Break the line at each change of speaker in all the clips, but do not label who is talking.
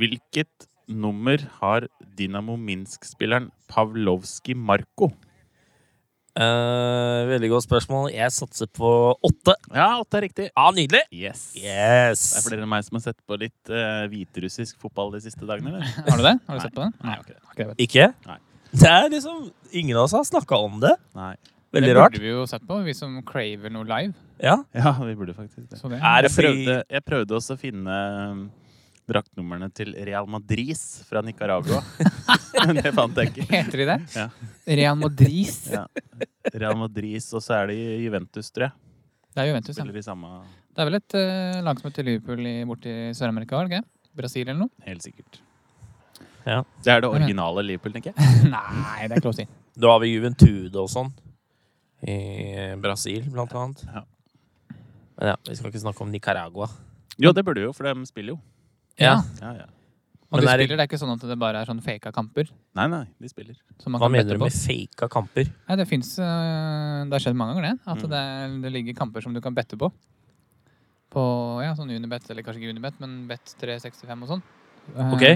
Hvilket nummer har Dinamo Minsk-spilleren Pavlovskij Marko?
Eh, veldig godt spørsmål. Jeg satser på åtte.
Ja, åtte er riktig.
Ja, nydelig!
Yes.
Yes!
Det er flere enn meg som har sett på litt eh, hviterussisk fotball de siste dagene. eller?
Har du det? Har
Nei.
du sett på den?
Nei, jeg har ikke det.
Har ikke det.
Ikke?
Nei.
Det er liksom Ingen av oss har snakka om det.
Nei.
Veldig
det
rart.
burde vi jo sett på, vi som craver noe live.
Ja.
Ja, vi burde faktisk det.
Så det.
Er det
Jeg
fordi
prøvde, jeg prøvde også å finne um, draktnumrene til Real Madrid fra Nicaragua. Men det fant jeg ikke.
Heter de det?
Ja.
Real Madrid.
Ja. Real Madrid, og så er det Juventus, tror jeg.
Det er Juventus, ja.
Spiller i samme
Det er vel et eh, lag som heter Liverpool i, borti Sør-Amerika, er det ikke? Brasil eller noe?
Helt sikkert.
Ja.
Det er det originale Liverpool, tenker jeg.
Nei, det er ikke lov å si.
Da har vi Juventude og sånn. I Brasil, blant annet.
Ja.
Men ja, vi skal ikke snakke om Nicaragua.
Jo, det burde jo, for de spiller jo.
Ja.
Ja, ja.
Og
Men er
de
det-
spiller, det er ikke sånn at det bare er sånn faka kamper?
Nei, nei, de spiller.
Som man
Hva
kan
mener
bette
du
på?
med faka kamper?
Nei, det fins Det har skjedd mange ganger, det. At
Mm.
det, er, det ligger kamper som du kan bette på. På ja, sånn Unibet, eller kanskje ikke Unibet, men Bet365 og sånn. Eh,
Ok.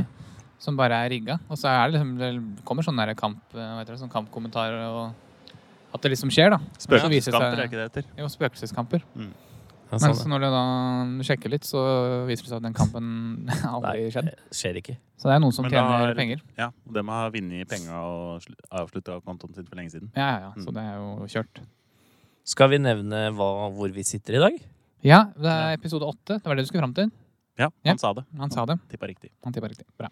Som bare er rigga. Og så er det liksom Det kommer sånn der kamp, eh, hva heter det, sånn kampkommentarer og At det liksom skjer, da. Så viser det seg-
Spøkelseskamper er ikke det heter.
Jo, spøkelseskamper.
Ja,
Men
sånn,
så når du da sjekker litt, så viser det seg at den kampen aldri
Nei.
skjedde.
ja. Skjer ikke.
Så det er noen som
Men da
tjener
er-
penger.
Ja, og de har vunnet penga og sl- avslutta kontoen sin for lenge siden.
Ja, ja, ja.
Mm.
Så det er jo kjørt.
Skal vi nevne hva, hvor vi sitter i dag?
Ja, det er episode åtte. Det var det du skulle fram til.
Ja,
Ja.
han sa det.
Han sa det.
Tippa riktig.
Han tippa riktig. Bra.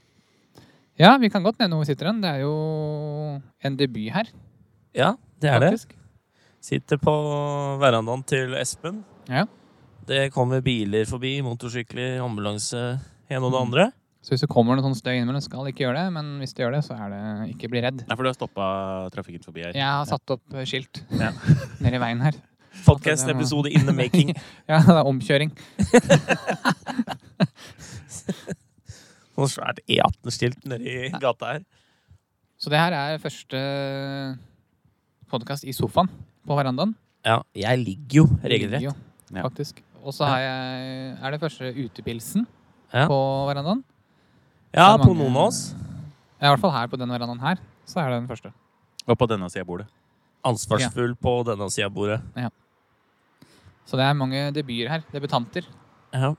Ja, vi kan godt nevne hvor vi sitter hen. Det er jo en debut her,
Ja, det er det.
faktisk.
Sitter på verandaen til Espen.
Ja.
Det kommer biler forbi, motorsykler, ambulanse, en og det andre.
Så hvis det kommer noe sånn støy innimellom, skal ikke gjøre det. Men hvis det gjør det, så er det ikke bli redd.
Nei, for du har stoppa trafikken forbi her.
Jeg har satt opp eh, skilt
Ja.
nede i veien her.
Podcast-episode in the making.
Ja, det er omkjøring.
Noe svært E18-skilt nedi gata her.
Så det her er første podkast i sofaen på verandaen.
Ja, jeg ligger jo regelrett.
Jo,
Ja.
Faktisk. Og så har jeg, er det første utepilsen
Ja.
på verandaen.
Ja,
Det er
på
mange-
noen av oss.
Ja, I hvert fall her på den verandaen her, så er det den første.
Og på denne sida av bordet.
Ansvarsfull på denne sida av bordet.
Så det er mange debuter her. Debutanter.
Ja.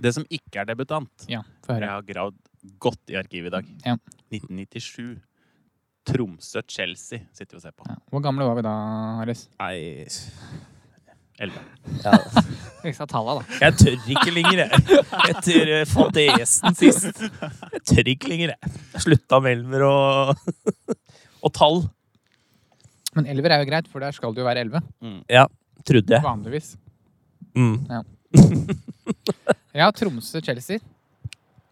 Det som ikke er debutant
Ja, få
Jeg
høre.
har gravd godt i arkivet i dag.
Ja.
1997. Tromsø-Chelsea sitter vi og ser på.
Ja. Hvor gamle var vi da, Haris?
Nei
Elleve.
ja.
Vi sa talla, da.
Jeg tør ikke lenger, jeg. Etter eh, fadesen sist. Jeg tør ikke lenger, jeg. Jeg Slutta med elver og, og tall.
Men elver er jo greit, for der skal det jo være elleve.
Ja, trodde jeg.
Vanligvis.
Mm.
Ja, Tromsø-Chelsea.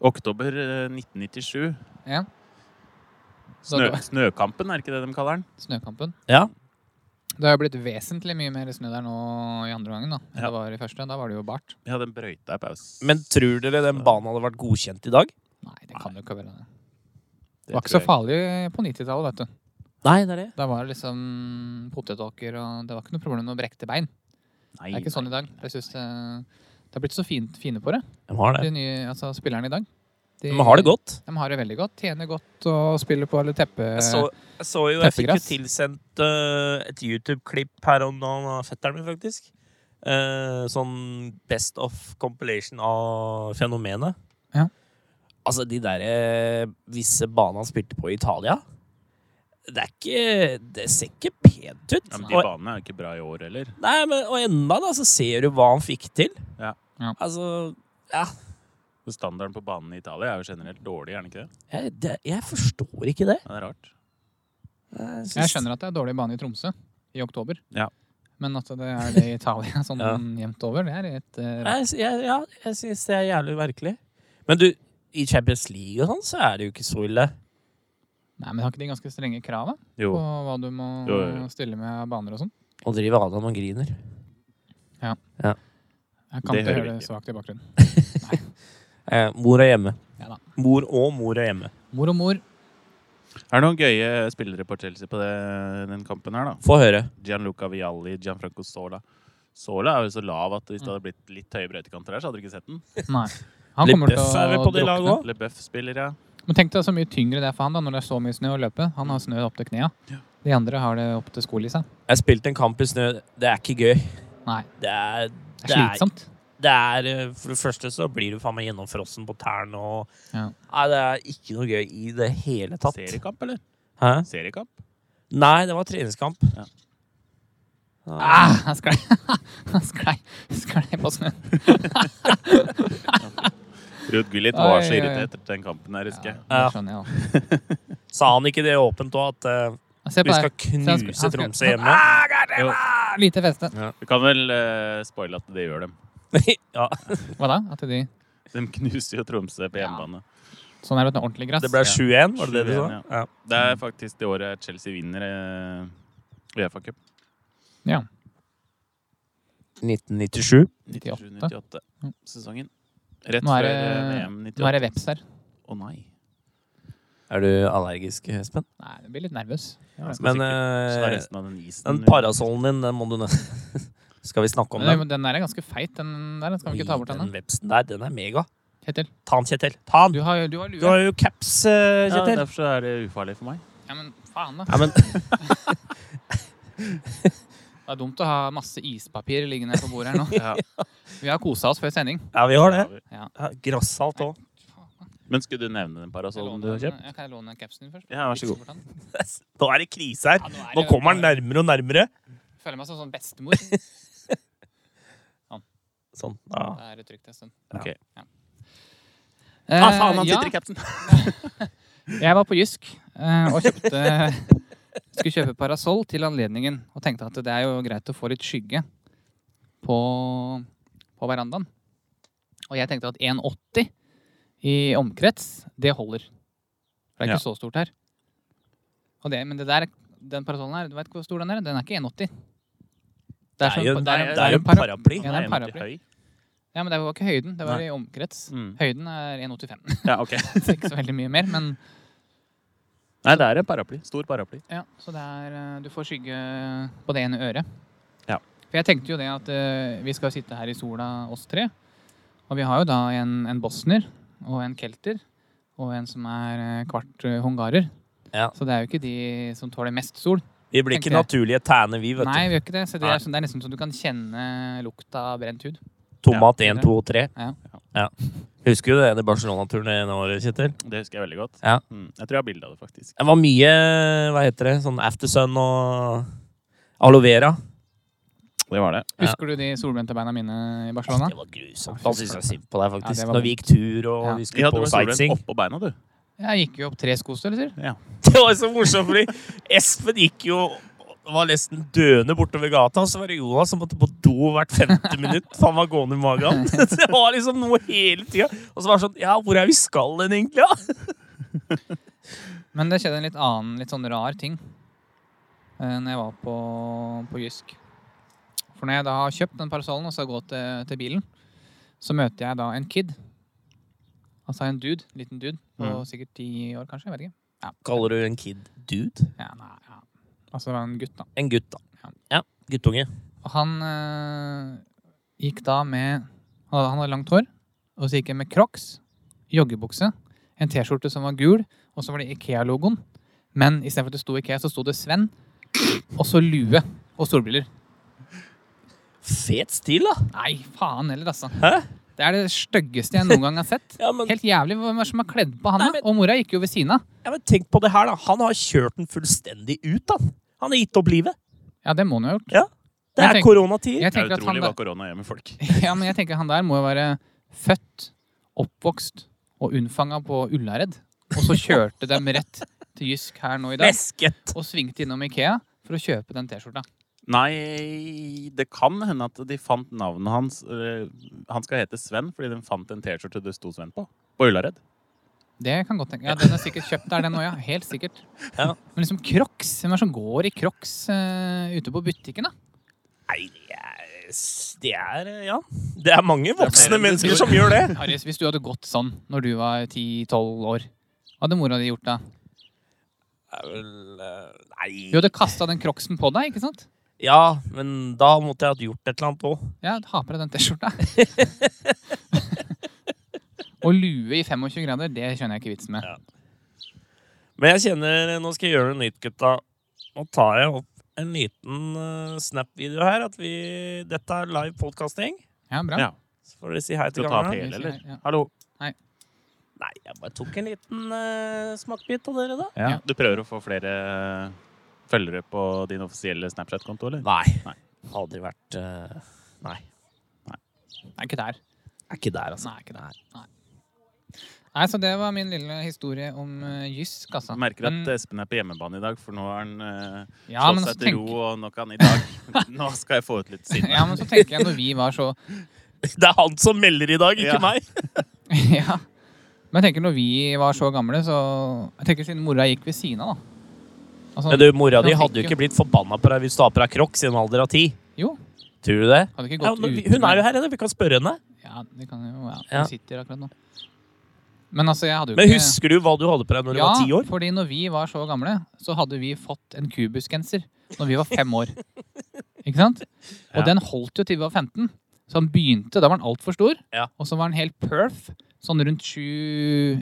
Oktober eh, 1997.
Ja. Så
Snø,
det var
snøkampen, er ikke det de kaller den?
snøkampen.
Ja.
Det har jo blitt vesentlig mye mer snø der nå i andre gangen da, enn
Ja.
det var i første. Da var det jo bart.
Ja, den brøyta i pausen.
Men tror dere den banen hadde vært godkjent i dag?
Nei, det kan jo ikke være det.
Det
Det var ikke
tror
så
jeg
farlig på 90-tallet, vet du.
Nei, det er det.
Da var det liksom potetåker, og det var ikke noe problem med å brekke til bein.
Nei,
Det er ikke sånn i dag. Jeg synes det, det har blitt så fint, fine på det,
De har det.
de nye altså, spillerne i dag. De,
De har det godt.
De har det veldig godt. Tjener godt og spiller på alle teppe...
Jeg så, jeg så jo Jeg fikk jo
Teppegress.
tilsendt eh, et YouTube-klipp her om dagen av fetteren min, faktisk. Eh, sånn best of compilation av fenomenet.
Ja.
Altså, de der eh, visse banene han spilte på i Italia Det er ikke Det ser ikke pent ut.
Ja, men de
og,
banene er jo ikke bra i år heller.
nei, men, og enda da, så ser du hva han fikk til.
Ja.
Ja.
Altså
Så Standarden på banen i Italia er jo generelt dårlig, er den ikke det?
jeg, det, jeg forstår ikke det.
Ja, det er rart.
Jeg,
Jeg skjønner at det er dårlig bane i Tromsø i oktober.
Ja.
Men at det er det i Italia sånn
Ja.
jevnt over, det er litt eh, rart.
Nei, jeg, sy- jeg- ja, jeg syns det er jævlig merkelig. Men du, i Champions League og sånn, så er det jo ikke så ille.
Nei, men har ikke de ganske strenge krav da,
Jo.
på hva du må
Jo, jo, jo.
stille med av baner og sånn?
Og driver Adam og griner.
Jeg kan
Det hører
ikke høre det
vi ikke.
svakt i bakgrunnen.
Eh, mor er hjemme.
Ja da.
Mor og mor er hjemme.
Mor og mor.
Er det noen gøye spillere på Chelsea på det, den kampen her, da?
Få høre.
Gianluca Vialli, Gianfranco Mm. Sola. Sola er jo så lav at hvis det hadde blitt litt høye brøytekanter der, så hadde du ikke sett den.
Nei. Han kommer til
Lebeuf er vel
å
på det
drukne.
laget også?
LeBeuf-spiller, ja.
Men tenk deg så mye tyngre det er for han da, når det er så mye snø å løpe. Han har snø opp til knea. De andre har det opp til skolissa.
Jeg spilte en kamp i snø. Det er ikke gøy.
Nei,
Det er,
det er slitsomt.
det er, eh, for det første så blir du faen meg gjennomfrossen på tærne og
Ja.
Nei, det er ikke noe gøy i det hele tatt.
Seriekamp, eller?
Hæ?
Seriekamp?
Nei, det var treningskamp.
Ja.
Ah,
Ah, han sklei. Han sklei. sklei på snøen.
Ruud Gullit var så
Oi, oi, oi.
irritert etter den kampen her, husker jeg.
Ja, det skjønner jeg også.
sa han ikke det åpent òg, at eh,
Se på
vi skal
det. han skal-
knuse
han skal-
Tromsø hjemme?
Jo,
Ah, Lite feste.
vi kan vel eh, spoile at det gjør dem.
eh, ja.
Hva da? At de...
De knuser jo Tromsø på hjemmebane.
Sånn er det uten ordentlig gress.
Det ble 7-1, var det det du
7-1,
sa? Ja.
Det er faktisk det året Chelsea vinner eh, Uefa-cup.
Ja.
1997.
98.
97-98-sesongen. Rett
Nå
før
er det,
eh, VM 98.
nå er det veps her.
Å nei.
Er du allergisk, Espen?
Nei, jeg blir litt nervøs. Ja,
Jeg skal
Men
sikkert ta
eh,
resten av den isen.
Mm.
den parasollen din, den må du nesten Skal vi snakke om
Men
den?
den- den der er ganske feit, den der. Den skal vi ikke ta bort
den
ennå.
vepsen der, den er mega.
Kjetil,
Ta den, Kjetil. Ta den!
du har, du har lue.
Du har jo caps, eh,
ja,
Kjetil.
derfor så er det ufarlig for meg.
Ja, men faen, da.
Ja, men
Det er dumt å ha masse ispapir liggende på bordet her nå.
Ja.
Vi har kosa oss før sending.
Ja, vi har det.
Ja.
Ja, Grassalt òg.
Men skulle du nevne den parasollen du har kjøpt?
Ja, Kan jeg låne capsen din først?
Ja, vær så god.
Nå er det krise her.
Ja, nå er
Nå
det-
kommer den nærmere og nærmere.
Jeg føler meg som sånn bestemor. Det
Sånn. Ja.
er trygt en stund.
Ok.
Eh,
Ah, faen, han
ja,
sitter i capsen!
jeg var på Jysk eh, og kjøpte Skulle kjøpe parasoll til anledningen og tenkte at det er jo greit å få litt skygge på, på verandaen. Og jeg tenkte at 1,80 i omkrets, det holder. For det er ikke så stort her. Og det, men det der, den parasollen her, du vet ikke hvor stor den er? Den er ikke 1,80.
Det er jo
sånn-
det
det er-
er
det er
jo
en
en
para-
paraply.
Ja, det er en paraply.
høy.
Ja, men det var ikke høyden, det var
Nei.
i omkrets.
Mm.
Høyden er 1,85.
Ja, ok.
Så ikke så veldig mye mer, men
Nei, det er en paraply. Stor paraply.
ja, så det er eh, Du får skygge eh, på det ene øret.
Ja.
For jeg tenkte jo det at eh, vi skal sitte her i sola, oss tre. Og vi har jo da en, en bosner og en kelter og en som er eh, kvart eh, hungarer.
Ja.
Så det er jo ikke de som tåler mest sol.
Vi blir ikke
Tenker jeg.
naturlige tæne, vi, vet
Nei,
du.
vi gjør ikke det. Så det
Nei.
er, sånn, det er nesten så du kan kjenne lukta av brent hud.
Tomat
Ja.
1, 2 og 3.
Ja.
Ja. Husker du det ene Barcelona-turen det ene året, Kjetil?
Det husker jeg veldig godt.
Ja.
Mm. Jeg tror jeg har bilde av det, faktisk.
Det var mye, hva heter det, sånn aftersun og aloe vera.
Det var det.
Ja.
Husker du de solbrente beina mine i Barcelona?
Det var grusomt. Da synes jeg synd på deg,
Ja,
faktisk.
det var
Når vi gikk tur og
Ja.
vi
Vi
skulle
hadde
på
med solbrent
sightseeing.
oppå beina, du.
Jeg gikk jo opp tre skostørrelser.
Ja.
Det var så morsomt, fordi Espen gikk jo var nesten døende bortover gata, og så var det Jonas som måtte på do hvert femte minutt. for Han var gående i magen. Det var liksom noe hele tida. Og så var det sånn Ja, hvor er vi skal hen, egentlig? da?
Men det skjedde en litt annen, litt sånn rar ting eh, når jeg var på, på Jysk. For når jeg da har kjøpt den parasollen og skal gå til, til bilen, så møter jeg da en kid. Altså en dude, liten dude, på
Mm.
sikkert ti år kanskje, jeg vet ikke.
Kaller du en kid dude?
Ja, nei, ja. Altså det var en gutt da.
En gutt,
Ja.
da. Ja. Guttunge.
Og han eh, gikk da med, han hadde- han hadde langt hår, og så gikk han med crocs, joggebukse, en t-skjorte som var gul, og så var det Ikea-logoen. Men i stedet for at det sto Ikea, så sto det Sven, og så lue og solbriller.
Fet stil, da.
Nei, faen heller, altså.
Hæ?
Det er det styggeste jeg noen gang har sett.
Ja, men
Helt jævlig hvem er det som har kledd på han
Nei,
da?
men-
Og mora gikk jo ved siden av.
Ja, men tenk på det her, da. Han har kjørt den fullstendig ut, da. Han har gitt opp livet.
Ja, det må hun ha gjort.
Det
Jeg
er
tenker-
koronatider.
Jeg
Det er
tenker at han
utrolig hva
der,
korona gjør med folk.
ja, men jeg tenker han der må jo være født, oppvokst og unnfanga på Ullared. Og så kjørte dem rett til Jysk her nå i dag.
Lesket.
og svingte innom Ikea for å kjøpe den T-skjorta.
Nei, det kan hende at de fant navnet hans øh, Han skal hete Sven fordi de fant en T-skjorte det sto Sven på. På Ullared.
Det kan godt tenke. Ja, Den er sikkert kjøpt der, den òg, ja. Helt sikkert.
Ja.
Men liksom Crocs Hvem er det som går i Crocs eh, ute på butikken, da?
Nei, det er, det er Ja. Det er mange
Det er
voksne
flere enn du
mennesker
tror.
som gjør det.
Harris, hvis du hadde gått sånn når du var 10-12 år, hva hadde mora di gjort da? Du
Nei
hadde kasta den Crocsen på deg, ikke sant?
Ja, men da måtte jeg ha gjort et eller annet òg.
Ja, ha på deg den T-skjorta. Og lue i 25 grader, det skjønner jeg ikke vitsen med.
Ja. Men jeg kjenner eh, Nå skal jeg gjøre det nytt, gutta. Nå tar jeg opp en liten eh, Snap-video her. At vi, dette er live podcasting.
Ja, bra.
Ja.
Så får dere si hei til
Skal du ta opp
kameraet.
hele, eller?
Ja.
Hallo.
Nei, jeg bare tok en liten eh, smakbit av dere, da.
Ja.
Du prøver å få flere eh, følgere på din offisielle Snapchat-konto, eller?
Nei.
Nei.
Aldri vært eh, Nei.
Nei, ikke der.
Er ikke der, altså.
Nei, ikke der. Nei. Nei, så det var min lille historie om eh, Jysk, altså.
Jeg merker at
Men-
Espen er på hjemmebane i dag, for nå har han eh,
ja, men
slått seg
så
til
tenk-
ro, og nå kan han i dag Nå skal jeg få ut litt sinne.
Ja, men så tenker jeg når vi var så
Det er han som melder i dag, ikke
Ja.
meg.
Ja. Men jeg tenker når vi var så gamle, så Jeg tenker siden mora gikk ved siden av, da. Altså,
Men du, mora di
Han
hadde jo
fikk
ikke blitt forbanna på deg hvis du har på deg crocs i en alder av ti.
Jo.
Tror du det?
Hadde ikke
Ja,
gått
men vi-
ut
hun er jo her, eller? vi kan spørre henne.
Ja, det kan jo ja,
Ja.
Hun sitter akkurat nå. Men altså, jeg hadde jo
Men husker du hva du hadde på deg når du
ja,
var ti år?
fordi når vi var så gamle, så hadde vi fått en kubusgenser når vi var fem år. Ikke sant? Og
Ja.
den holdt jo til vi var 15. Så han begynte, da var han altfor stor.
Ja.
Og så var han helt perf, sånn rundt 7,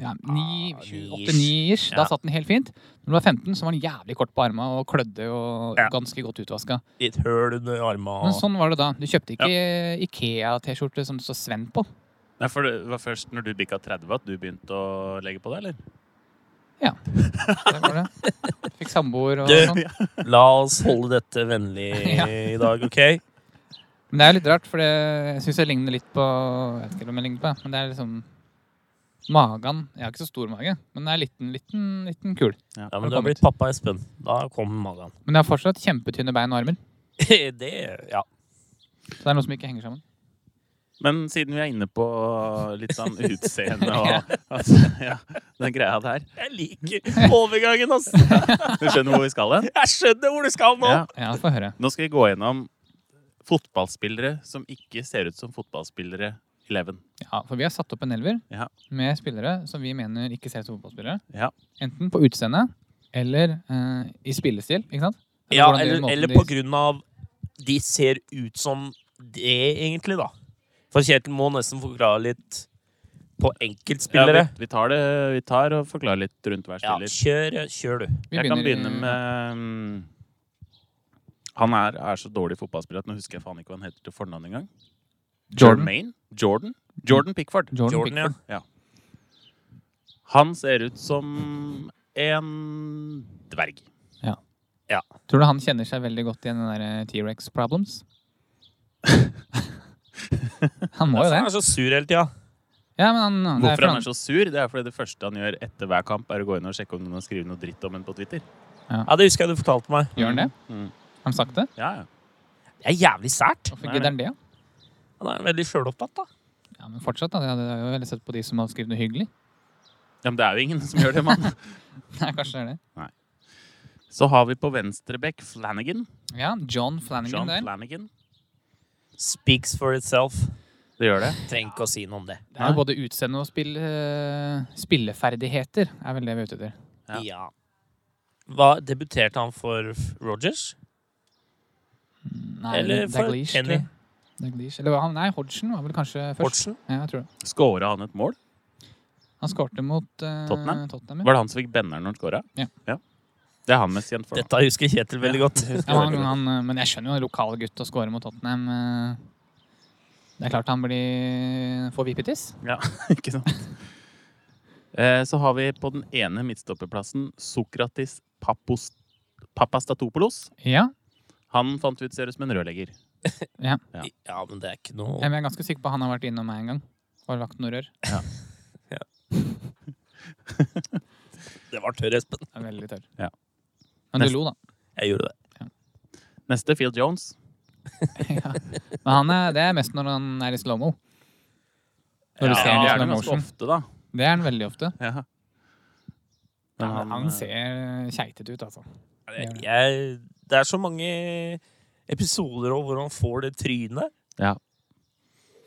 ja, 9,
Ah,
7,
ni-ish.
8, 9-ish. Da
Ja.
satt den helt fint. Når du var 15, så var han jævlig kort på armene og klødde og
Ja. Ah.
ganske godt utvaska.
Litt høl under arma
Men
og
sånn var det da. Du kjøpte ikke Ikea-T-skjorte som det står Sven på.
Nei, for det var først når du bikka 30 at du begynte å legge på deg, eller?
Det var det. Fikk samboer og
Du,
sånn.
La oss holde dette vennlig
Ja.
i dag, OK?
Men det er jo litt rart, for det, jeg syns jeg ligner litt på Jeg vet ikke om jeg ligner på, det, men det er liksom Magen Jeg har ikke så stor mage, men det er liten, liten, liten kul.
Ja, men du har blitt pappa, Espen. Da kom magen.
Men jeg har fortsatt kjempetynne bein og armer.
Det Ja.
Så det er noe som ikke henger sammen.
Men siden vi er inne på litt sånn utseende og at, ja, den greia der
Jeg liker overgangen, ass! Jeg
Du skjønner hvor vi skal hen?
skjønner hvor du skal nå!
Ja.
Ja, få høre.
Nå skal vi gå gjennom fotballspillere som ikke ser ut som fotballspillere i Leven.
Ja, For vi har satt opp en elver
Ja.
med spillere som vi mener ikke ser ut som fotballspillere.
Ja.
Enten på utseende eller eh, i spillestil, ikke sant?
Ja,
hvordan de-
eller,
måten
eller
de-
på grunn av De ser ut som det, egentlig, da. For Kjetil må nesten forklare litt på enkeltspillere.
Ja, vi, vi, tar det, vi tar og forklarer litt rundt hver
Ja,
spiller.
kjør, kjør, du.
vi
jeg kan begynne
i-
med mm, Han er, er så dårlig fotballspiller at nå husker jeg faen ikke hva han heter til fornavn engang.
Jordan.
Jermaine? Jordan? Jordan Pickford.
Jordan,
Jordan, ja.
Pickford.
Han ser ut som en dverg.
Tror du han kjenner seg veldig godt igjen i den der eh, T-rex problems? han må jo det.
Han er så sur hele tida.
Ja, men han, det er
Hvorfor han
for
er så sur? Det er fordi det første han gjør etter hver kamp, er å gå inn og sjekke om noen har skrevet noe dritt om en på Twitter.
Ja, det husker jeg du fortalte meg.
Gjør han det?
Mm.
Har han sagt det?
Ja, ja.
Det er jævlig sært.
Hvorfor
Nei,
gidder han det?
Han er veldig sjølopptatt, da.
Ja, men fortsatt, da. Jeg hadde jo heller sett på de som hadde skrevet noe hyggelig.
ja, men det er jo ingen som gjør det, mann.
Nei, kanskje det er det.
Så har vi på venstrebekk Flanagan.
Ja, John Flanagan
John
der.
Flanagan.
Speaks for itself.
Det gjør det.
Trenger ikke å si noe om det.
Det er jo både utseende og spill, eh, spilleferdigheter, er vel det vi er ute etter.
Ja.
Ja. Hva, debuterte han for F- Rogers?
Nei,
Eller for
Dalglish, tror
Kenny?
jeg. Dalglish. Eller var han, nei, Hodgson var vel kanskje først.
Hodgson?
Ja, jeg tror det.
Skåra han et mål?
Han skårte mot eh,
Tottenham?
Tottenham ja.
Var det han som fikk benneren når han skåra?
Ja.
Det er han mest kjent for. nå.
Dette husker Kjetil veldig godt.
Ja, men han, han, men jeg skjønner jo en lokal gutt å score mot Tottenham. eh. Det er klart han blir, får vippetiss.
Ja, ikke sant? Eh, Så har vi på den ene midtstopperplassen Sokratis Papos, Papastatopoulos.
Ja.
Han fant vi ut ser ut som en rørlegger.
Ja, men det er ikke
Jeg
noe
er ganske sikker på han har vært innom meg en gang. Og lagt noe rør.
Det var tørr, Espen.
Det er veldig tørr.
Ja.
Men du
Neste.
lo, da.
Jeg gjorde det.
Neste Phil Jones.
ja. Men han er, det er mest når han er i slow-mo. Når du
Ja,
ser han
det er
i slow
det ganske
motion.
ofte, da.
Det er han veldig ofte.
Ja. Men
Han,
eh,
han ser keitet ut, altså.
Jeg, jeg, det er så mange episoder over hvor han får det trynet.
Ja.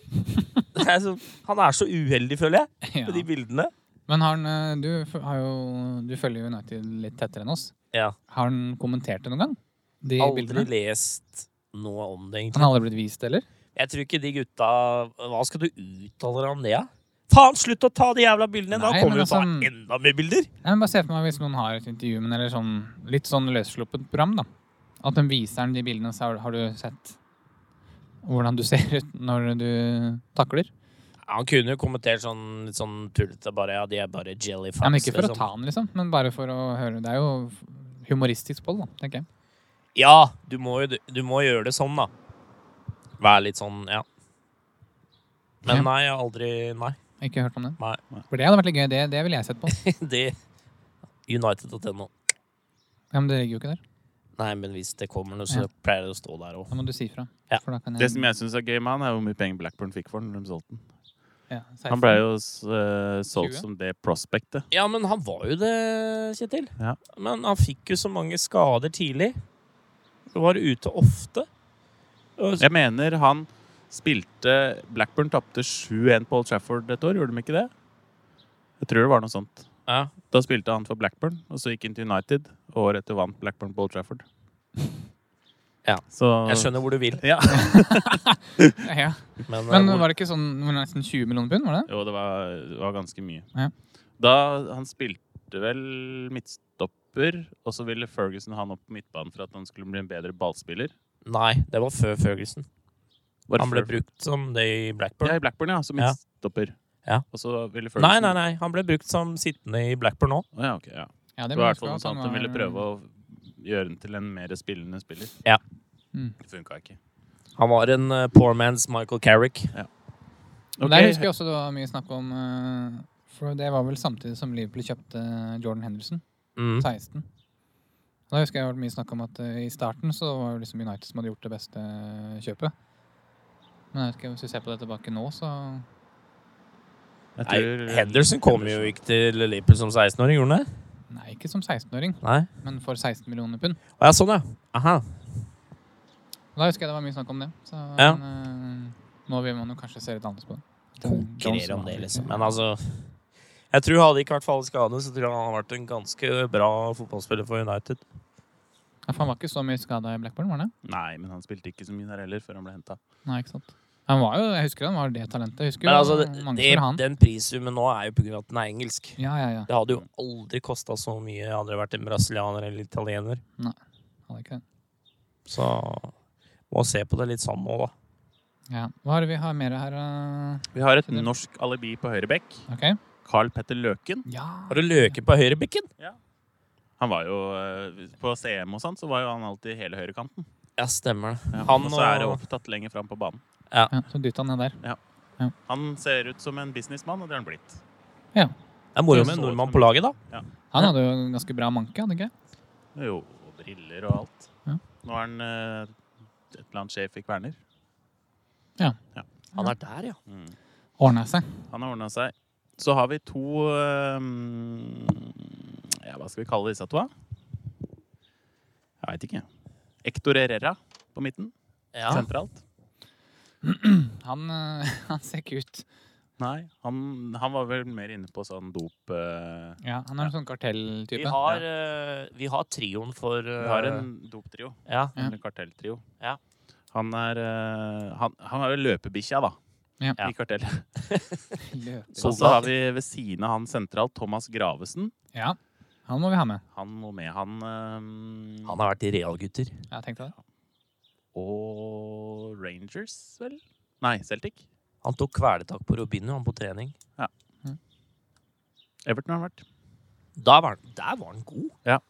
Det er så, han er så uheldig, føler jeg,
Ja.
med de bildene.
Men har han, eh, du, f- har jo, du følger jo United litt tettere enn oss.
Ja.
Har han kommentert det noen gang? De
Aldri
bildene?
lest noe om det, egentlig.
Han har aldri blitt vist, eller?
Jeg tror ikke de gutta Hva skal du uttale deg om det, da? Faen, slutt å ta de jævla bildene!
Nei,
da kommer
men
du til å
altså-
ha enda mer bilder!
Nei, men bare se for meg hvis noen har et intervju med en eller sånn, litt sånn løssluppet program, da. At de viser den de bildene, så har- har du sett hvordan du ser ut når du takler.
Ja, han kunne jo kommentert sånn litt sånn tullete bare Ja, de er bare jellyfats.
Ja, men ikke for å
liksom.
ta den, liksom, men bare for å høre. Det er jo humoristisk på det, da, tenker jeg.
Ja, du må jo du må gjøre det sånn, da. Være litt sånn, ja. Men
Ja.
nei, jeg har aldri Nei.
Jeg har Ikke hørt om det.
Nei.
For det hadde vært litt gøy. Det, det ville jeg sett på.
Det United.no.
Ja, men det ligger jo ikke der.
Nei, men hvis det kommer noe, så
Ja.
pleier det å stå der òg.
Da må du si fra.
Ja.
For da kan
eh, Det som jeg syns er gøy med han, er hvor mye penger Blackburn fikk for den. når de solgte den.
ja, 16.
Han ble jo eh, solgt
20?
som det prospectet.
Ja, men han var jo det, Kjetil.
Ja.
Men han fikk jo så mange skader tidlig. Han var ute ofte. Og-
Jeg mener han spilte Blackburn tapte 7-1 på Old Trafford et år, gjorde de ikke det? Jeg tror det var noe sånt.
Ja.
Da spilte han for Blackburn, og så gikk han til United. Og året etter vant Blackburn på Old Trafford.
Ja.
Så
Jeg skjønner hvor du vil,
Ja.
Ja.
men,
Men
eh, hvor-
var det ikke sånn det var nesten 20 millioner pund? var det?
Jo, det var, det var ganske mye.
Ja.
Da Han spilte vel midtstopper, og så ville Ferguson ha han opp på midtbanen for at han skulle bli en bedre ballspiller.
Nei, det var før Ferguson.
Var det
Han ble
Fer-
brukt som det i Blackburn.
Ja, i Blackburn, ja. Som
Ja.
midtstopper.
Ja.
Og så ville Ferguson
Nei, nei, nei. Han ble brukt som sittende i Blackburn nå.
Å, ja, ok, ja.
Ja,
Det
må
var i
jeg
hvert
eh,
fall noe
huske at
sånt.
han
De
var-
ville prøve å gjøre den til en mer spillende spiller.
Ja.
Mm.
Det funka ikke.
Han var en eh, poor man's Michael Carrick.
Men Der husker jeg også det var mye snakk om eh, For det var vel samtidig som Liverpool kjøpte eh, Jordan Henderson,
Mm.
16. Da husker jeg det var mye snakk om at eh, i starten så var det liksom United som hadde gjort det beste eh, kjøpet. Men jeg vet ikke, hvis vi ser på det tilbake nå, så
Jeg
Nei,
tror-
Henderson kom jo ikke til Liverpool som 16-åring, gjorde han det?
Nei, ikke som 16-åring,
Nei?
men for 16 millioner pund.
Å, ja, sånn, ja. Aha.
Da husker jeg det var mye snakk om det. Så
Ja.
men, eh, nå vil man jo kanskje se litt annerledes på det.
Konkurrere om det, liksom. Men altså Jeg tror hadde ikke vært for alle skadene, så tror jeg han hadde vært en ganske bra fotballspiller for United.
Ja, for han var ikke så mye skada i Blackburn, var han det?
Nei, men han spilte ikke så mye der heller før han ble henta.
Nei, ikke sant. Han var jo, jeg husker han var det talentet. Jeg husker
Men
jo
altså, det,
mange
det,
som ville ha han.
den prissummen nå er jo på grunn av at den er engelsk.
Ja, ja, ja.
Det hadde jo aldri kosta så mye hadde det vært en brasilianer eller italiener.
Han er ikke det.
Så må se på det litt sånn nå, da.
Ja. Hva er det vi har mer her? eh?
Vi har et
Skjønner.
norsk alibi på høyre bekk.
Ok.
Carl Petter Løken.
Ja.
Har du løke på høyrebekken?
Han var jo eh, På CM og sånt, så var jo han alltid hele høyrekanten.
Ja, stemmer det.
Ja.
Han
og så er det
og-
opptatt lenger fram på banen.
ja så dytta han ned der.
Han ser ut som en businessmann, og det er han blitt.
Det er moro
Det
med
så
en
ut
nordmann
som-
på laget, da.
Han hadde jo en ganske bra manke, hadde ikke? jeg?
Jo, og briller og alt.
Ja.
Nå er han eh, et eller annet sjef i Kverner.
Han er der, ja.
Mm.
Ordna seg.
Han har ordna seg. Så har vi to eh, mm, Ja, hva skal vi kalle disse to, da? Jeg veit ikke. Hector Herrera på midten,
ja.
sentralt.
Han, eh, han ser ikke ut.
Nei, han, han var vel mer inne på sånn dop... eh,
Ja, han er en sånn
Vi
kartelltype.
har, eh, vi har trioen for eh,
Vi har en doptrio,
Ja.
Ja.
eller kartelltrio.
Ja.
Han er eh, han, han er jo løpebikkja, da.
Ja.
I kartell.
Løper.
Og så har vi ved siden av han sentralt Thomas Gravesen.
Ja. Han må vi ha med.
Han må med, han eh,
Han har vært i Real, gutter.
Jeg tenkte det.
Og Rangers, vel? Nei, Celtic.
Han tok kvelertak på Robinho, han på trening.
Everton har han vært.
Da var han, der var han god.
Real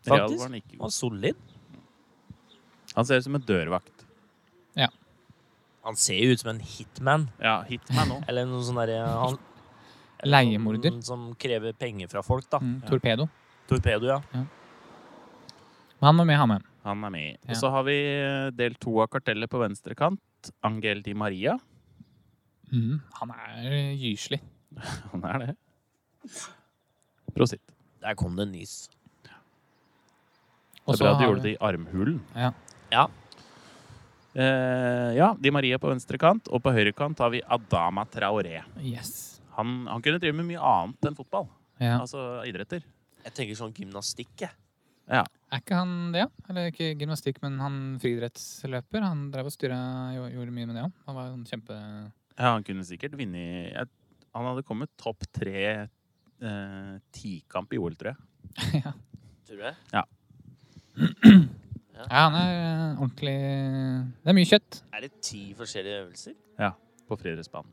Faktisk.
var han ikke
Han
god.
var solid.
Han ser ut som en dørvakt.
Han ser jo ut som en hitman.
Ja, hit meg nå.
Eller noe sånn derre han- eller noen
Leiemorder.
Som krever penger fra folk, da.
Mm, torpedo.
Torpedo, ja.
Men han må vi ha med.
Han er med.
Ja.
Og så har vi eh, del to av kartellet på venstre kant. Angel Di Maria.
Mm. Han er gyselig.
Han er det. Prosit.
Der kom det en nys.
Det
Og
er
så
bra du
har
gjorde
vi-
det i armhulen.
Ja.
Ja.
Eh, ja, Di Maria på venstre kant, og på høyre kant har vi Adama Traoré.
Yes.
Han, han kunne drive med mye annet enn fotball.
Ja.
Altså idretter.
Jeg tenker sånn gymnastikk, jeg.
Er ikke han det, ja? Eller ikke gymnastikk, men han friidrettsløper. Han drev og styra, gjorde mye med det òg. Han var en kjempe...
Ja, han kunne sikkert vinne i- jeg, Han hadde kommet topp tre eh, tikamp i OL, tror jeg.
Tror du det?
Ja, han er eh, ordentlig Det er mye kjøtt.
Er det ti forskjellige øvelser?
På friidrettsbanen.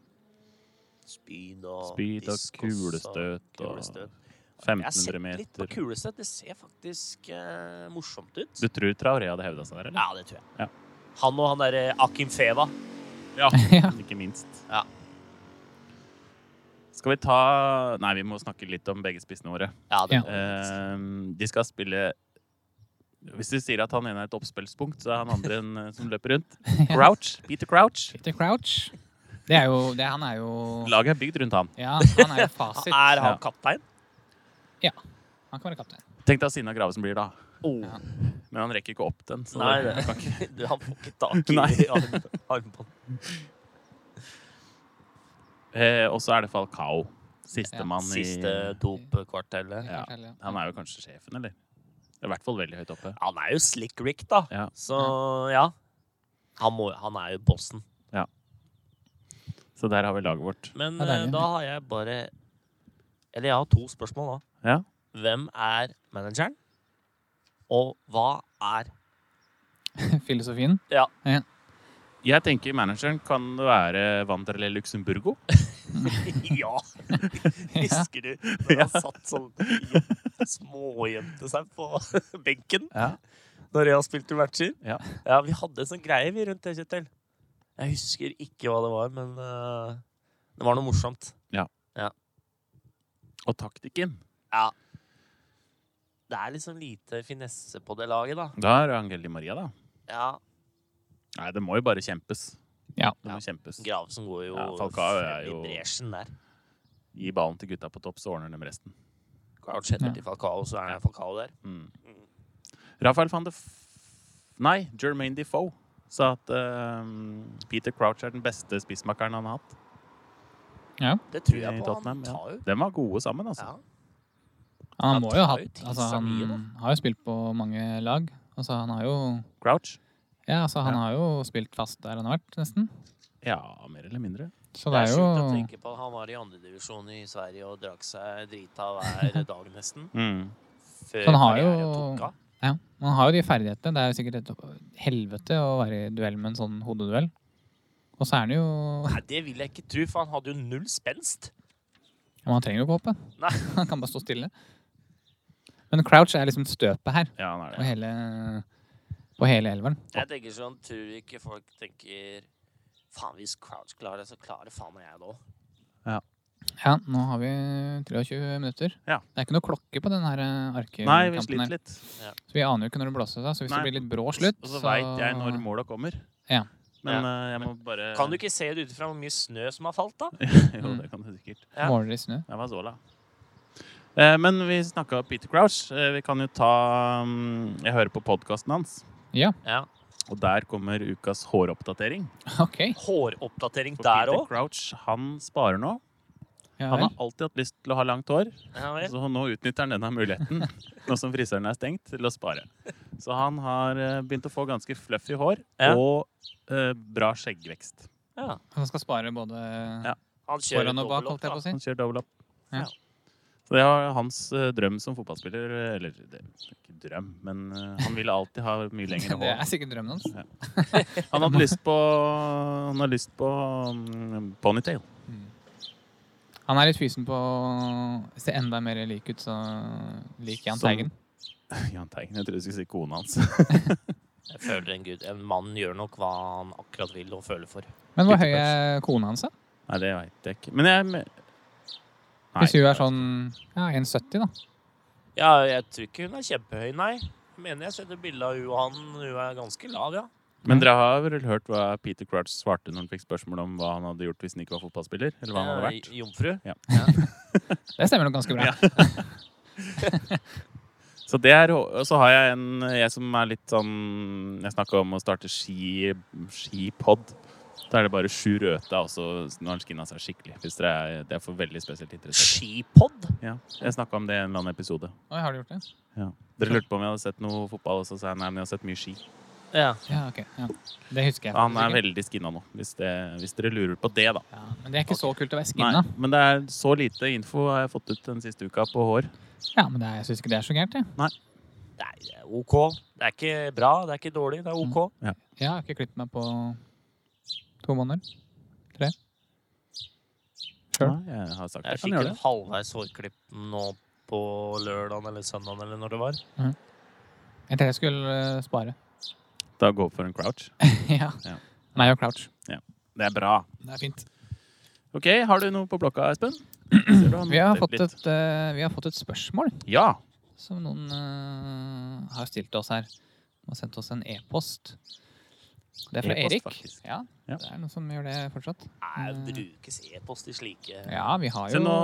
Spyd og
Spyd og
diskos
kulestøt og
kulestøt. Jeg har
1500
sett litt på
meter.
kulestøt. Det ser faktisk eh, morsomt ut.
Du tror Traoré hadde hevda seg der, eller?
Ja, det tror jeg.
Ja.
Han og han derre Akim Feva.
ja.
Ikke minst.
Ja.
Skal vi ta Nei, vi må snakke litt om begge spissene våre.
Ja, det
Ja.
må vi.
Ehm, de skal spille Hvis du sier at han ene er et oppspillspunkt, så er han andre en eh, som løper rundt. Crouch. Peter Crouch.
Peter Crouch. Det er jo det, Han er jo
Laget er bygd rundt han.
Ja, han er jo fasit.
Ja.
Er han kaptein?
Han kan være kaptein.
Tenk deg Sina Gravesen blir da.
Oh.
Ja.
Men han rekker ikke opp den. Så
Nei,
det,
det-
kan ikke.
Du, Han får ikke tak i
Nei.
arm, armbånd.
Eh, og så er det Falcao. Sistemann i
Siste dopkvartellet.
Ja.
Kanskje, eller-
Han er jo kanskje sjefen, eller? I hvert fall veldig høyt oppe.
Han er jo slick Rick, da.
Ja.
Så ja. Han, må, han er jo bossen.
Så der har vi laget vårt.
Men
Ja, det er
eh,
det.
da har jeg bare Eller jeg har to spørsmål, da.
Ja.
Hvem er manageren? Og hva er
Filosofien.
Jeg tenker manageren kan være Wanderley Luxemburgo.
Ja!
Ja.
Husker du når han satt sånn jem- smågjemte seg på benken
Ja.
når jeg spilte matcher?
Ja.
ja, vi hadde en sånn greie vi rundt det, Kjetil. Jeg husker ikke hva det var, men eh, det var noe morsomt.
Og taktikken.
Det er liksom lite finesse på det laget, da.
Da er det Angel Di Maria, da.
Ja,
Nei, det må jo bare kjempes.
Ja.
Det må
Ja.
kjempes.
Gravesen går jo
Ja, Falcao er
frem
jo-
i bresjen der.
Gi ballen til gutta på topp, så ordner de resten.
Crouch heter
Ja.
til Falcao, så er Falcao der.
Mm. Rafael van de F... Nei, Jermaine Defoe sa at eh, Peter Crouch er den beste spissmakeren han har hatt.
Det tror
I
jeg på. Han
Tottenham, ja.
tar jo
De var gode sammen, altså.
ja.
Han må jo ha
tar jo
hatt
til
altså,
seg mye,
Han har jo spilt på mange lag. Altså, han har jo
Crouch?
Ja, altså, han
Ja.
har jo spilt fast der han har vært, nesten.
Ja, mer eller mindre.
Så
Det er
jo
sjukt å tenke på. Han var i andredivisjon i Sverige og drakk seg drita hver dag, nesten.
Mm.
Før
Han har
karrieren
jo-
tok av.
Ja, man har jo de ferdighetene. Det er jo sikkert et helvete å være i duell med en sånn hodeduell. Og så er han jo
Nei, det vil jeg ikke tro, for han hadde jo null spenst.
Men han trenger jo ikke hoppe.
Nei.
Han kan bare stå stille. Men Crouch er liksom støpet her
Ja, han er
på
det.
hele, på hele elveren.
Jeg tenker sånn, tror ikke folk tenker Faen, hvis Crouch klarer det, så klarer faen meg jeg det òg.
Ja, nå har vi 23 minutter.
Ja.
Det er ikke noe klokke på den her eh,
Nei, vi
arkekampen
sliter
her.
litt.
Så vi aner jo ikke når det blåser seg. Så hvis
Nei.
det blir litt brå slutt,
Og så veit jeg når måla kommer.
Ja.
Men
Ja.
eh, jeg må bare
Kan du ikke se det ut ifra hvor mye snø som har falt, da?
Jo,
Mm.
det kan du sikkert.
Ja.
måler i snø.
Jeg var såla. Eh, men vi snakka Peter Crouch. Eh, vi kan jo ta mm, Jeg hører på podkasten hans,
Ja,
Ja.
og der kommer ukas håroppdatering.
OK.
Håroppdatering
For
der
Peter
òg.
Crouch han sparer nå.
Ja,
Han
vel.
har alltid hatt lyst til å ha langt hår,
Ja, vel.
så nå utnytter han denne muligheten nå som frisøren er stengt, til å spare. Så han har eh, begynt å få ganske fluffy hår
Ja.
og eh, bra skjeggvekst.
ja.
Han skal spare både
Ja.
Han kjører
foran og bak,
dobbelt
holdt
opp,
jeg på å si.
Han kjører double up.
Ja.
Så det var hans eh, drøm som fotballspiller. eh, Eller det er ikke drøm, men eh, han ville alltid ha mye lengre
Det
hår.
er sikkert drømmen hans.
Han hadde lyst på, han hadde lyst på mm, ponytail.
Han er litt fysen på å se enda mer lik ut, så lik Jahn
Som-
Teigen.
Jahn Teigen. Jeg trodde du skulle si kona hans.
da. Jeg føler en gud. En mann gjør nok hva han akkurat vil og føler for.
Men hvor
Peter
høy er kona hans, da?
Nei, det veit jeg ikke. Men jeg Nei,
Hvis hun er sånn ja, 1,70, da.
Ja, jeg tror ikke hun er kjempehøy, nei. Jeg mener jeg setter bilde av hun og han. Hun er ganske lav, ja.
Men dere har vel hørt hva Peter Crouch svarte når han fikk spørsmål om hva han hadde gjort hvis han ikke var fotballspiller? Eller hva han hadde vært?
Eh, Jomfru.
Det stemmer nok ganske bra.
Så, det er, og så har jeg en jeg som er litt sånn Jeg snakka om å starte ski, skipod. Da er det bare sju røta, og så når han skinna seg skikkelig. Hvis dere er, det er for veldig spesielt interessert.
Skipod?
Ja, jeg snakka om det i en eller annen episode.
Oi, har du gjort det?
Dere lurte på om jeg hadde sett noe fotball, og så sa jeg nei, men jeg har sett mye ski.
Ja.
Ja, ok. Ja. Det husker
Han
jeg.
er
faktisk ikke.
veldig skinna nå, hvis, det, hvis dere lurer på det, da.
ja, men det er ikke så kult å være
Nei,
skinna.
men det er så lite info har jeg fått ut den siste uka på hår.
Ja, men det er, jeg syns ikke det er så gærent, jeg.
Nei, det er OK. Det er ikke bra, det er ikke dårlig, det er OK.
Mm, Jeg har ikke klippet meg på to måneder. Sure.
Nei, jeg har sagt
Jeg
jeg kan
fikk
gjøre
en
det.
halvveis hårklipp nå på lørdagen eller søndagen eller når det var.
Jeg tenkte jeg skulle eh, spare.
Da går jeg for en crouch.
ja.
Ja.
Meg og Crouch.
Det er bra.
Det er fint.
Ok, har du noe på blokka, Espen? Ser du han
Vi har
noter
fått
litt.
et, eh, vi har fått et spørsmål
Ja.
som noen eh, har stilt oss her. De har sendt oss en e-post. Det er fra
E-post,
Erik.
faktisk.
Ja,
Ja.
det er noen som gjør det fortsatt.
Nei, brukes e-post i slike
Mm. Ja, vi har
Se,
jo
nå,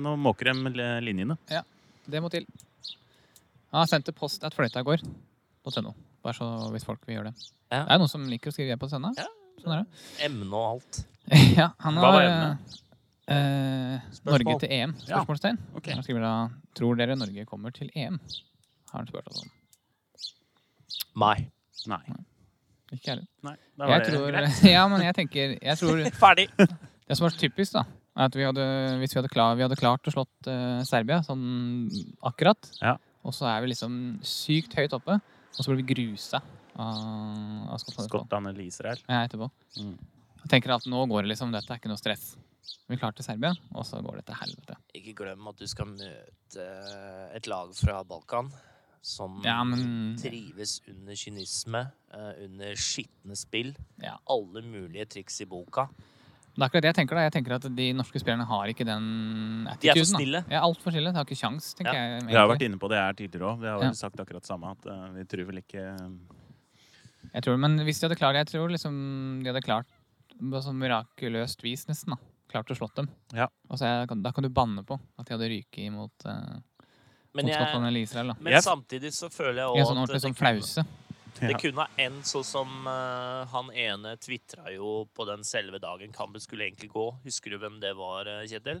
nå måker de l- linjene.
Det må til. Han har sendt til post at fløyta går. .no. Bare så hvis folk vil gjøre det.
Ja.
Det er noen som liker å skrive e-post ennå.
Ja.
Sånn er det.
Emne og alt.
ja, han
Hva
har
var
eh,
Spørsmål.
Norge til EM?
Ja.
Spørsmålstegn.
Ok.
Han skriver da Tror dere Norge kommer til EM? Har han spurt oss om.
Nei.
Nei.
Ikke heller.
Nei. Da var
Jeg
det
tror,
greit.
ja, men jeg tenker jeg tror,
Ferdig.
Det som er så typisk, da, er at vi hadde, hvis vi hadde, klar, vi hadde klart å slått eh, Serbia sånn akkurat,
Ja.
og så er vi liksom sykt høyt oppe, og så blir vi grusa av, av Skottland.
Skottland eller Israel.
Ja, etterpå.
Mm.
Jeg tenker at nå går det liksom, dette er ikke noe stress. Vi klarte Serbia, og så går det til helvete.
Ikke glem at du skal møte et lag fra Balkan som
Ja, men
trives under kynisme, eh, under skitne spill.
Ja.
Alle mulige triks i boka.
Det er akkurat det jeg tenker. da. Jeg tenker at De norske spillerne har ikke den attituden.
De er for
da.
snille.
Ja, altfor snille. De har ikke kjangs, tenker
Ja.
jeg.
Vi har vært
egentlig.
inne på det her tidligere òg. Vi har
Ja.
vel sagt akkurat samme. At eh, vi tror vel ikke eh,
Jeg tror, men hvis de hadde klart Jeg tror liksom de hadde klart på sånn mirakuløst vis, nesten, da. Klart å slått dem.
Ja.
Og så er, da kan du banne på at de hadde ryket imot uh,
Men,
Skottland
jeg,
eller Israel. da.
men
Jeg-
samtidig så føler jeg
I en
òg
sånn
at
ordentlig sånn
det kunne-
flause.
Ja.
Det kunne ha endt sånn som eh, han ene tvitra jo på den selve dagen kampen skulle egentlig gå. Husker du hvem det var, eh, Kjetil?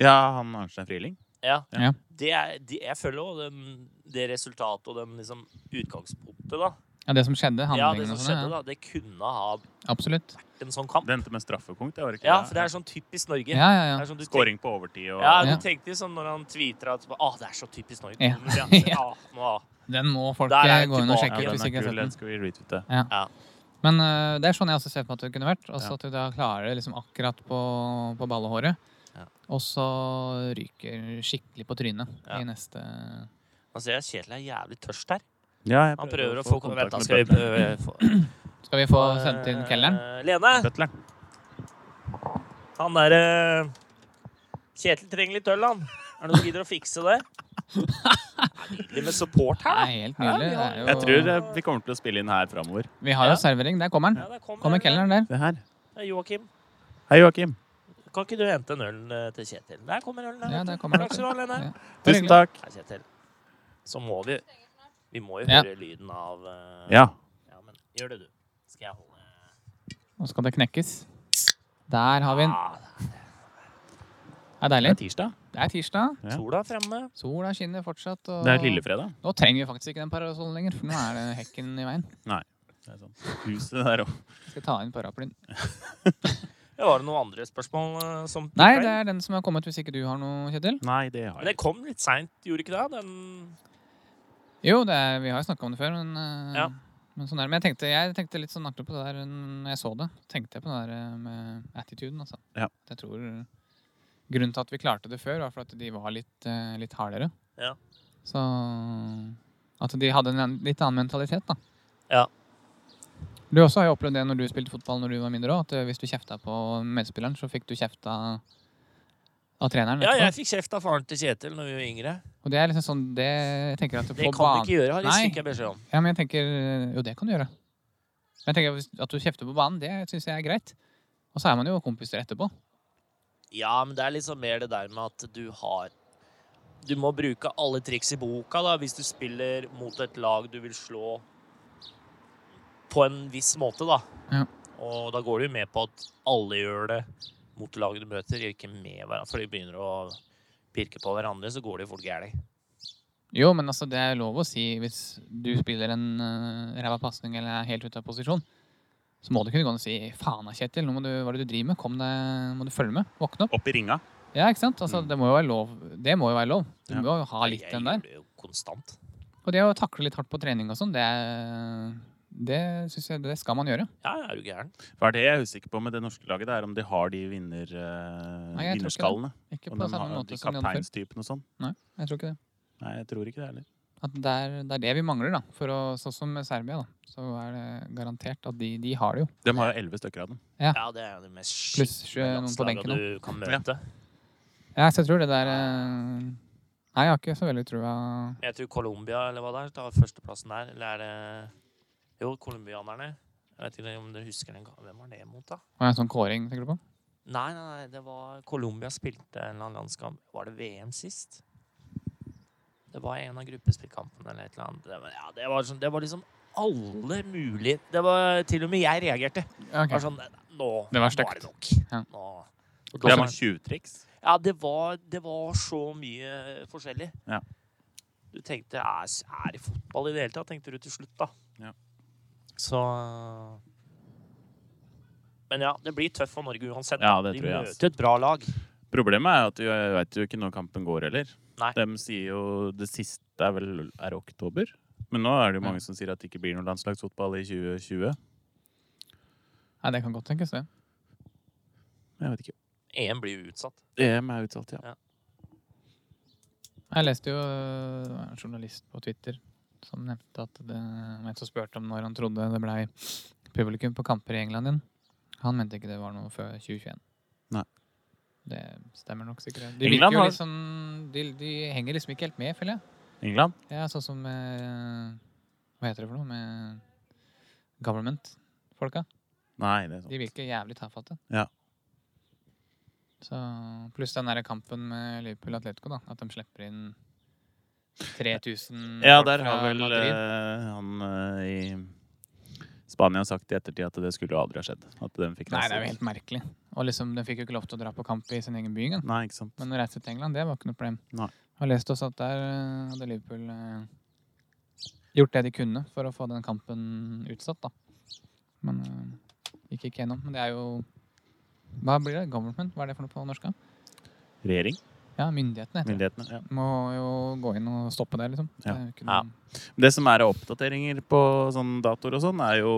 Ja, han Arnstein Friling.
Ja.
Ja.
Det er, de, jeg føler jo den- det resultatet og den liksom utgangspunktet, da.
Ja, det som skjedde.
Ja, det
Handlingen
som
og sånn.
skjedde,
Ja.
da. Det kunne ha
Absolutt.
vært en sånn kamp.
Det endte med straffekonk. Det var ikke
Ja, for det er sånn typisk Norge.
Ja,
Det
ja, ja.
er sånn du tenker,
Skåring på overtid og
ja, du
Ja.
tenkte sånn når han tvitra at Å, det er så typisk Norge.
Ja.
Men det er- ah, nå-
Den må folk
Der er
eh,
den
gå inn og
tilbake.
Ja,
sjekke ut
den
hvis
er
ikke jeg
kul.
har sett den.
Den skal vi retweete.
Men øh, det er sånn jeg også ser for meg at det kunne vært.
Ja.
Også At du da klarer det liksom akkurat på, på ballehåret.
Ja.
Og så ryker skikkelig på trynet
Ja.
i neste
Nå ser Altså, jeg Kjetil er jævlig tørst her.
Ja, jeg
Han prøver å få altså.
kontakt
kontakt
med
med
bøtleren.
bøtleren.
Skal vi få sendt inn kelneren?
Eh, Lene!
Bøtleren.
Han der eh, Kjetil trenger litt øl, han. Er det noen som gidder å fikse det? Det er Nydelig med support
Det
her.
er helt nydelig. Det er jo,
Jeg tror eh, vi kommer til å spille inn her framover.
Vi har jo
Ja.
servering. Der kommer
Ja,
den.
der
Kommer kelneren der.
Det her.
Ja, Joakim,
Hei, Joakim.
kan ikke du hente en øl eh, til Kjetil? Der kommer ølen.
Ja,
vet du.
der kommer
Takk skal du ha, Lene.
Ja.
Tusen takk.
Nei, Kjetil. Så må vi Vi må jo
Ja.
høre lyden av eh,
Ja.
ja, men gjør det, du. Skal jeg holde
Nå skal det knekkes. Der har vi den.
ah,
Det er deilig.
Det er tirsdag.
Det er tirsdag.
Ja.
Sola er fremme.
Sola skinner fortsatt. Og
Det er lillefredag.
nå trenger vi faktisk ikke den parasollen lenger, for nå er det hekken i veien.
Det er sånn. Huset der òg.
Skal ta inn paraplyen.
Ja, var det noen andre spørsmål eh, som
Nei, det er den som har kommet, hvis ikke du har noe, Kjetil.
Nei, det har
Men
jeg
det kom litt seint, gjorde ikke det? Den
Jo, det er, vi har jo snakka om det før, men, eh,
Ja.
men sånn er det. Men jeg tenkte, jeg tenkte litt sånn artig på det der eh, når jeg så det. tenkte jeg på det der eh, med attituden, altså.
Ja.
Jeg tror eh, Grunnen til at vi klarte det før, var for at de var litt, eh, litt hardere.
Ja.
Så At de hadde en an- litt annen mentalitet, da.
Ja.
Du også har jo opplevd det når du spilte fotball når du var mindre òg, at eh, hvis du kjefta på medspilleren, så fikk du kjefta av treneren.
Ja,
etterpå.
jeg fikk kjeft av faren til Kjetil når vi var yngre.
Og det er liksom sånn det jeg tenker
Det
at på
kan
banen
du ikke gjøre, har
Nei.
jeg fikk jeg beskjed om.
Ja, men jeg tenker Jo, det kan du gjøre. Men jeg tenker hvis- At du kjefter på banen, det syns jeg er greit. Og så er man jo kompiser etterpå.
Ja, men det er liksom mer det der med at du har Du må bruke alle triks i boka da, hvis du spiller mot et lag du vil slå på en viss måte, da.
Ja.
Og da går du jo med på at alle gjør det mot laget du møter, ikke med hverandre. For de begynner å pirke på hverandre, så går det jo fort gærent.
Jo, men altså, det er lov å si hvis du spiller en uh, ræva pasning eller er helt ute av posisjon, så må du kunne gå og si 'faen da, Kjetil, nå må du, hva er det du driver med? Kom deg, må du følge med? Våkne opp'.
Opp i ringa.
Ja, ikke sant? Altså,
Mm.
det må jo være lov. Det må jo være lov. Du
Ja.
må jo ha litt
Jeg
den
gjør
der.
det jo Konstant.
Og det å takle litt hardt på trening og sånn, det, er- det syns jeg det skal man gjøre.
Ja, ja, er du gæren?
Hva er det jeg er usikker på med det norske laget? Det er om de har de vinner, eh,
Nei, jeg tror ikke
vinnerskallene.
Ikke
Om
på
de
samme
har
måte
de
som de andre før.
kapteinstypen og sånn.
Jeg tror ikke det.
Nei, jeg tror ikke det heller.
At det, er, det er det vi mangler, da. For å, sånn som med Serbia, da. Så er det garantert at de, de har det jo.
De har jo elleve stykker av dem.
Ja, det er jo det mest
Pluss eh, noen
landslaget
på benken nå.
du kan møte.
Ja, så jeg tror det der eh, Nei, jeg har ikke så veldig trua
Jeg tror Colombia eller hva det er, tar førsteplassen der. Eller er det Jo, colombianerne. Jeg vet ikke om dere husker den ga- Hvem var det mot, da?
Var det en sånn kåring, tenker du på?
Nei, nei, nei, det var Colombia spilte en eller annen landskamp. Var det VM sist? Det var en av gruppespillkampene eller et eller annet. Det var, ja, det var, sånn, det var liksom alle mulige Det var til og med jeg reagerte.
Ja,
Det var
Altså,
ok.
sånn Nå
Det
nå
var
er
stygt.
det nok.
Ja.
Nå.
Det er sånn tjuvtriks.
Ja, det var, det var så mye forskjellig.
Ja.
Du tenkte er, er det fotball i det hele tatt? tenkte du til slutt, da.
Ja.
Så Men ja, det blir tøft for Norge uansett.
Ja,
da.
det
De
tror jeg,
møter et bra lag.
Problemet er at du veit jo ikke når kampen går heller.
Nei.
De sier jo det siste er vel er oktober. Men nå er det jo mange som sier at det ikke blir noe landslagsfotball i 2020.
Nei, det kan godt tenkes, det.
Jeg vet ikke.
EM blir jo utsatt.
EM er utsatt, ja.
Jeg leste jo det var en journalist på Twitter som nevnte at det var en som spurte om når han trodde det blei publikum på kamper i England igjen. Han mente ikke det var noe før 2021.
Nei.
Det stemmer nok sikkert. De,
England
virker jo
har-
liksom, de, de henger liksom ikke helt med, føler jeg.
England?
Ja, sånn som eh, Hva heter det for noe? Med government-folka.
Nei, det er
De
sånn.
virker jævlig tafatte.
Ja.
Så, pluss den derre kampen med Liverpool og Atletico, da. At de slipper inn 3000
Ja,
Mm. folk
der
fra
har vel
Madrid.
eh, han eh, i Spania sagt i ettertid at det skulle jo aldri ha skjedd. At de fikk
Nei, det er jo
nesten-
helt merkelig. Og liksom, De fikk jo ikke lov til å dra på kamp i sin egen by engang.
Nei, ikke sant.
Men å reise til England, det var ikke noe problem.
Nei.
Jeg har lest også at der eh, hadde Liverpool eh, gjort det de kunne for å få den kampen utsatt, da. Men eh, gikk ikke gjennom. Men det er jo Hva blir det? Government? Hva er det for noe på norsk? da?
Regjering?
Ja, myndighetene heter det.
Myndighetene? Ja.
Må jo gå inn og stoppe det, liksom.
Ja.
Det er jo ikke
Ja.
noe-
Det som er av oppdateringer på sånne datoer og sånn, er jo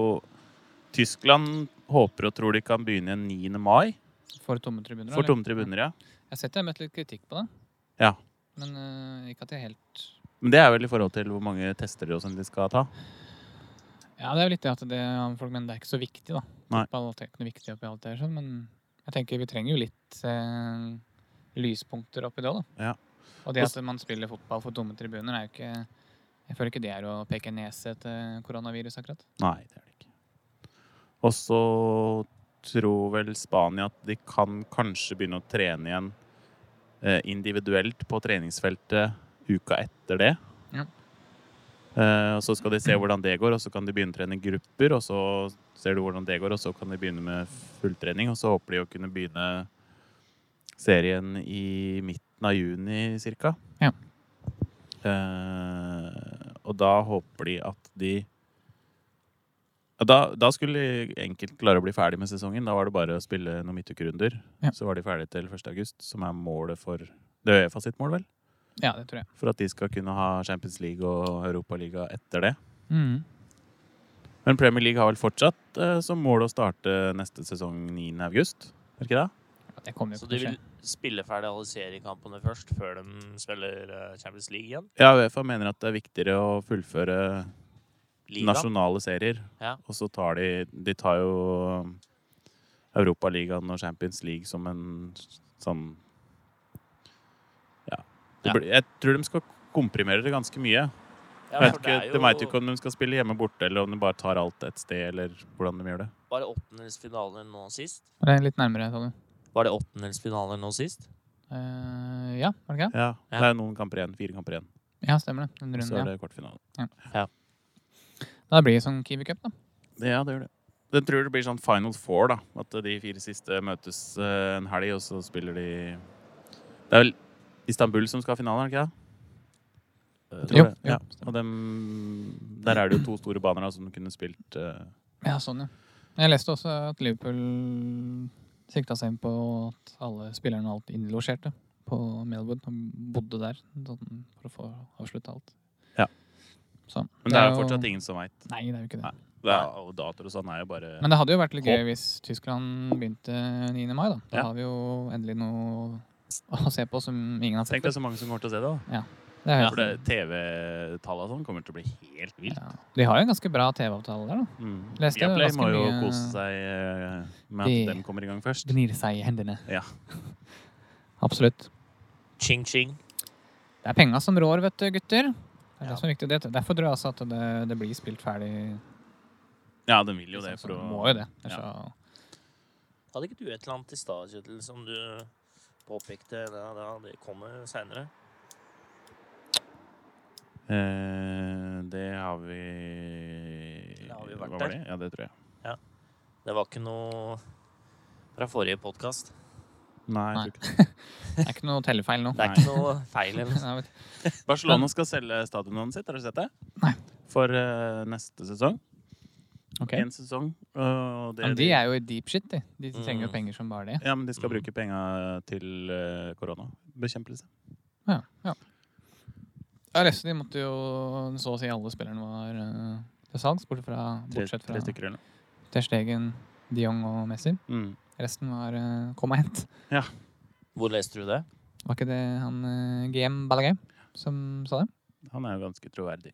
Tyskland håper og tror de kan begynne igjen 9. mai
For tomme tribuner.
for
eller?
tomme tribuner, ja.
Jeg har sett jeg har møtt litt kritikk på det.
Ja.
Men eh, ikke at jeg helt
Men det er vel i forhold til hvor mange tester og sånn de skal ta.
Ja, det er jo litt det at det, folk mener det er ikke så viktig, da.
Nei.
Fotball er ikke noe viktig oppi alt det her, sånn, men jeg tenker vi trenger jo litt eh, lyspunkter oppi det, da.
Ja.
Og det at man spiller fotball for tomme tribuner, er jo ikke Jeg føler ikke det er å peke nese til koronavirus, akkurat.
Nei, det er det ikke. Og så tror vel Spania at de kan kanskje begynne å trene igjen eh, individuelt på treningsfeltet uka etter det.
Ja.
Eh, og så skal de se hvordan det går, og så kan de begynne å trene i grupper. Og så ser du hvordan det går, og så kan de begynne med fulltrening. Og så håper de å kunne begynne serien i midten av juni cirka.
Ja.
Eh, og da håper de at de ja, Da, da skulle de enkelt klare å bli ferdig med sesongen. Da var det bare å spille noen midtukerunder.
Ja.
Så var de ferdig til 1. august, som er målet for Det er Uefa sitt mål, vel?
Ja, det tror jeg.
For at de skal kunne ha Champions League og Europaliga etter det. Mm. Men Premier League har vel fortsatt eh, som mål å starte neste sesong 9. august? Er det ikke det?
Ja, det kommer jo
Så
ikke
de
til å
vil
skje.
spille ferdig alle seriekampene først, før de spiller eh, Champions League igjen?
Ja, Uefa mener at det er viktigere å fullføre
Ligaen?
nasjonale serier.
Ja.
Og så tar de De tar jo um, Europaligaen og Champions League som en sånn Ja. Det
Ja.
blir- Jeg tror de skal komprimere det ganske mye.
Ja,
Jeg vet
for
ikke,
det er
De
jo
veit jo ikke om de skal spille hjemme borte, eller om de bare tar alt et sted, eller hvordan de gjør det.
Var det åttendelsfinaler nå sist?
Det er litt nærmere, sa du.
Var det åttendelsfinaler nå sist?
Eh, ja, var det ikke det?
Ja,
Ja.
Det er noen kamper igjen. Fire kamper igjen.
Ja, stemmer det. Den
Så er
runden, ja.
det kvartfinale.
Da blir det sånn Kiwi Cup, da.
Det- Ja, det gjør det. Jeg tror det blir sånn final four, da. At de fire siste møtes eh, en helg, og så spiller de Det er vel Istanbul som skal ha finalen, er det ikke det? tror
Jo,
det. Eh,
jo,
Ja. Og dem, der er det jo to store baner da, som kunne spilt eh,
Ja, sånn, ja. Jeg leste også at Liverpool sikta seg inn på at alle spillerne og alt innlosjerte på Melwood og bodde der sånn, for å få avslutta alt.
Ja.
Så,
Men det er jo fortsatt ingen som veit.
Nei, det er jo ikke det.
Nei. Og datoer og sånn er jo bare
Men det hadde jo vært litt gøy
Håp.
hvis Tyskland begynte 9. mai, da. Da
Ja.
har vi jo endelig noe å se på som ingen har
Tenk
sett
deg
før.
så mange som kommer til å se det. da.
Det er
For
jo-
det TV-tallet og sånn kommer til å bli helt vilt.
Ja. De har jo en ganske bra TV-avtale der, da.
Mm.
Leste det
Viaplay
ganske
må jo
mye-
kose seg eh, med
De-
at dem kommer i gang først.
Gnir seg i hendene.
Ja.
Absolutt.
Ching, ching.
Det er penga som rår, vet du, gutter. Det er
Ja.
det som er viktig. Det, derfor tror jeg altså at det, det blir spilt ferdig. liksom,
Ja, de vil jo det. For
Så
å,
Må jo det. Ellers
Ja.
så-
Hadde ikke du et eller annet i stad, Kjetil, som du eh, påpekte? Det, det, det kommer seinere.
Eh, det har vi
Det har vi vært
Hva
der.
var det? Ja, det tror jeg.
Det var ikke noe fra forrige podkast.
Nei,
Nei.
jeg tror ikke det.
Det er ikke noe tellefeil nå.
Det er ikke noe feil. eller noe.
Nei, vet du.
Barcelona skal selge stadionet sitt, har du sett det?
Nei.
For eh, neste sesong.
Ok.
Én sesong. Og det,
Men de er jo i deep shit, de. De trenger jo
Mm.
penger som bare det.
Ja, men de skal
Mm.
bruke penga til eh, koronabekjempelse.
Ja, ja. Jeg leste de måtte jo Så å si alle spillerne var eh, til salgs, bortsett fra,
Tre,
bortsett fra
tre stykker eller noe.
Ter Stegen, de Jong og Messi.
Mm.
Resten var eh, kom og hent.
Hvor leste du det?
Var ikke det han eh, GM Ballagay som sa det?
Han er jo ganske troverdig.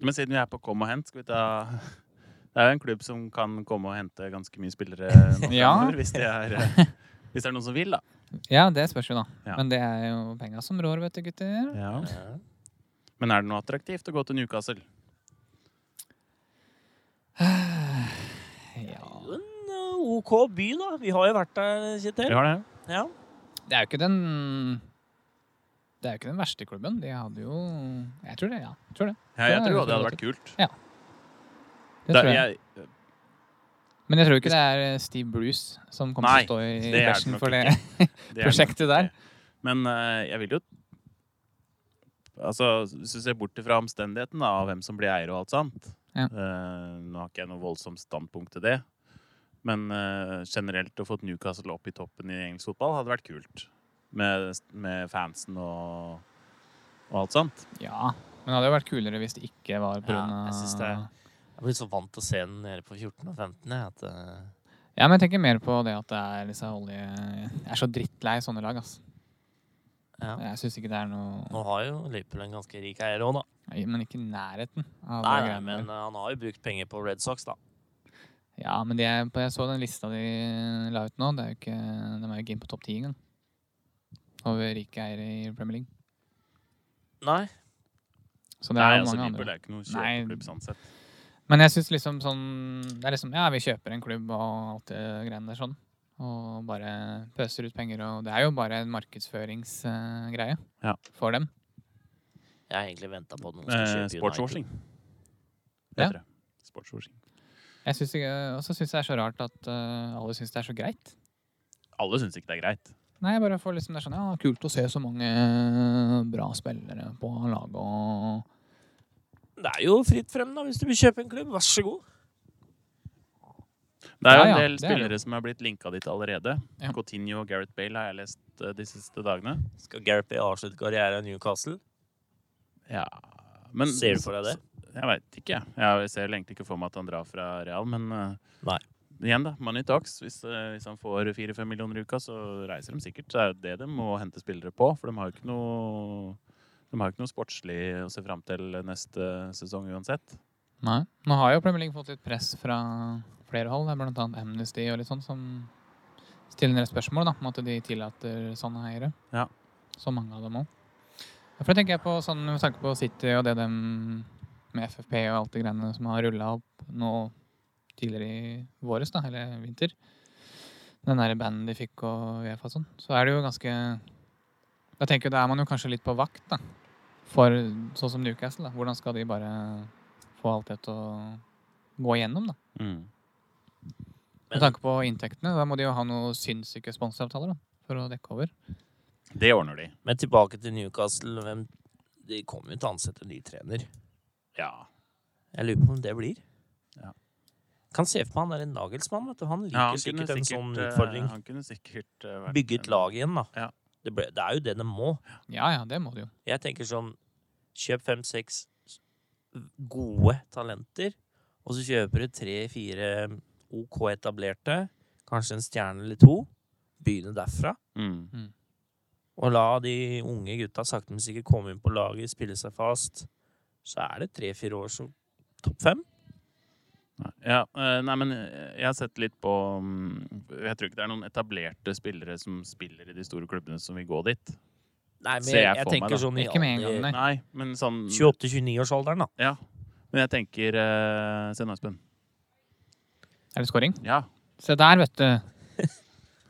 Men siden vi er på kom og hent, skal vi ta Det er jo en klubb som kan komme og hente ganske mye spillere nå
Ja.
fremover, hvis, det er, eh, hvis det er noen som vil, da.
Ja, det spørs jo, da.
Ja.
Men det er jo penga som rår, vet du, gutter.
Ja.
Men er det noe attraktivt å gå til Newcastle?
Ja.
Jo, En eh, OK by, da. Vi har jo vært der, Kjetil.
Vi har det.
Ja.
Det er jo ikke den Det er jo ikke den verste klubben. De hadde jo Jeg tror det, ja. Jeg tror det.
Ja, jeg tror
Ja, jeg
også det
tror
hadde
det.
vært kult.
det
Da-
tror jeg.
jeg-
Men jeg tror ikke det er eh, Steve Bruce som kommer
Nei,
til å stå i
det er det
bæsjen
nok
for det
ikke. det er
prosjektet
nok
der.
det. Men eh, jeg vil jo Altså, Hvis du ser bort fra omstendigheten da, av hvem som blir eier og alt sånt
Ja.
eh, Nå har ikke jeg noe voldsomt standpunkt til det. Men eh, generelt å få Newcastle opp i toppen i engelsk fotball hadde vært kult. Med, med fansen og, og alt sånt.
Ja. Men det hadde jo vært kulere hvis det ikke var pga.
Ja, jeg synes det
Ja,
er- Jeg blir så vant til å se den nede på 14 og 15. Jeg, at, eh,
ja, men jeg tenker mer på det at det er disse olje... Jeg er så drittlei sånne lag, ass.
ja.
Jeg syns ikke det er noe
Nå har jo Liverpool en ganske rik eier òg, da.
Nei, Men ikke i nærheten
Nei,
av det
nei,
greiene
men eh, han har jo brukt penger på Red Sox, da.
der. Ja, men de er, på- jeg så den lista de la ut nå. Det er jo ikke, de er jo ikke inne på topp ti engang. Over rike eiere i Premier League.
Nei.
Så
Nei,
det er jo
altså,
mange
Liverpool
andre.
er ikke noe
Nei.
kjøpeklubb sånn sett.
Men jeg syns liksom sånn Det er liksom Ja, vi kjøper en klubb og alt det greiene der sånn. Og bare pøser ut penger og Det er jo bare en markedsføringsgreie
Ja.
for dem.
Jeg har egentlig venta på at noen skal
Eh,
kjøpe
Sportswashing.
Ja.
Heter det. Sportswashing.
Jeg syns ikke- Og så syns jeg det er så rart at eh, alle syns det er så greit.
Alle syns ikke det er greit.
Nei, jeg bare får liksom det er sånn Ja, kult å se så mange bra spillere på laget og
Det er jo fritt frem, da, hvis du vil kjøpe en klubb. Vær så god.
Det er jo
Ja,
en
ja,
del
det er det.
spillere som er blitt linka dit allerede.
Ja.
Coutinho og Gareth Bale har jeg lest eh, de siste dagene.
Skal Gareth Bale avslutte karrieren i Newcastle?
Ja, men,
Ser du for deg det?
Jeg veit ikke. jeg. Jeg ser vel egentlig ikke for meg at han drar fra Real, men eh,
Nei.
igjen, da. Money talks. Hvis, eh, hvis han får fire-fem millioner i uka, så reiser de sikkert. Det er jo det de må hente spillere på, for de har jo ikke noe de har jo ikke noe sportslig å se fram til neste sesong uansett.
Nei. Nå har jo Premier League fått litt press fra flere hold. Det er blant annet Amnesty og litt sånn som stiller en del spørsmål da, om at de tillater sånne eiere.
Ja.
Så mange av dem òg. Derfor tenker jeg på sånn med tanke på City og det dem med FFP og alt det greiene som har rulla opp nå tidligere i våres, da, eller vinter. Den derre banden de fikk og Uefa og sånn. Så er det jo ganske Da tenker jeg, da er man jo kanskje litt på vakt, da. For sånn som Newcastle, da. Hvordan skal de bare få alt det til å gå igjennom. Da.
Men-
Med tanke på inntektene, da må de jo ha noen sinnssyke sponsoravtaler da, for å dekke over.
Det ordner de.
Men tilbake til Newcastle. Hvem,
de kommer jo til å ansette en ny trener.
Ja.
Jeg lurer på om det blir.
Ja.
Kan se for meg han er en Nagelsmann. Vet du. Han liker
ja han, kunne
sikkert en
sikkert,
sånn
eh,
utfordring.
han kunne sikkert eh, vært
Bygge et
en-
lag igjen, da.
Ja.
Det, ble, det er jo det de må.
Ja, ja, det må du jo.
Jeg tenker sånn Kjøp fem-seks gode talenter, og så kjøper du tre-fire OK etablerte, kanskje en stjerne eller to. Begynne derfra.
Mm.
Og la de unge gutta sakte, men sikkert komme inn på laget, spille seg fast. Så er det tre-fire år som topp fem.
Nei. Ja, eh, nei, men jeg har sett litt på mm, Jeg tror ikke det er noen etablerte spillere som spiller i de store klubbene, som vil gå dit.
Nei, men
Ser
jeg,
jeg
jeg
for meg,
tenker
da.
sånn i Mm.
Ikke med en
alder-
gang, nei.
Nei, men sånn
28-29-årsalderen, da.
Ja. Men jeg tenker uh, Se nå, Espen.
Er det scoring?
Ja.
Se der, vet du.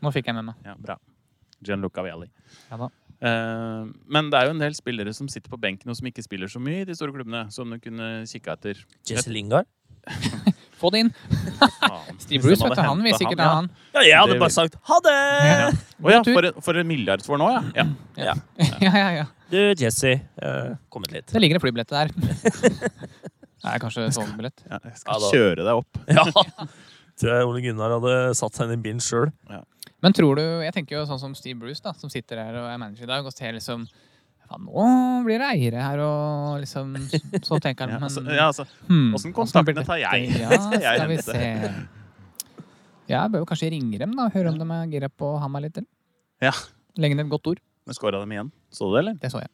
Nå fikk jeg med meg.
ja, bra. Gianluca Vialli.
Ja da.
Eh, men det er jo en del spillere som sitter på benken og som ikke spiller så mye i de store klubbene, som du kunne kikka etter.
Jesse Lingard.
Få det inn.
Faen.
Steve
Hvis
Bruce,
hadde
vet du. Han vil
hentet
sikkert
ja.
ha han.
Ja, jeg hadde
Det
bare
vil-
sagt ha det!
Ja. Å ja, for, en- for en milliard for nå, ja.
Mm.
ja.
Ja, ja, ja.
Du, Jesse. eh, kom hit litt.
Det ligger en flybillett der. Det er kanskje togbillett.
ja jeg
Ja,
skal
da.
kjøre deg opp.
Ja. Tror jeg Ole Gunnar hadde satt seg inn i bilen sjøl.
Men tror du Jeg tenker jo sånn som Steve Bruce, da, som sitter her og er manager i dag, og ser liksom Faen, nå blir det eiere her, og liksom Så tenker
Ja,
han,
altså,
men
ja, altså.
hmm,
Åssen
hvordan blir
kontaktene tar jeg?
dette? Ja,
Jeg
skal vi
henter.
se. Ja, jeg bør jo kanskje ringe dem da, og høre om de er gira på å ha meg litt til.
Ja.
Legge ned et godt ord.
Men skåra dem igjen. Så du det, eller?
Det så jeg.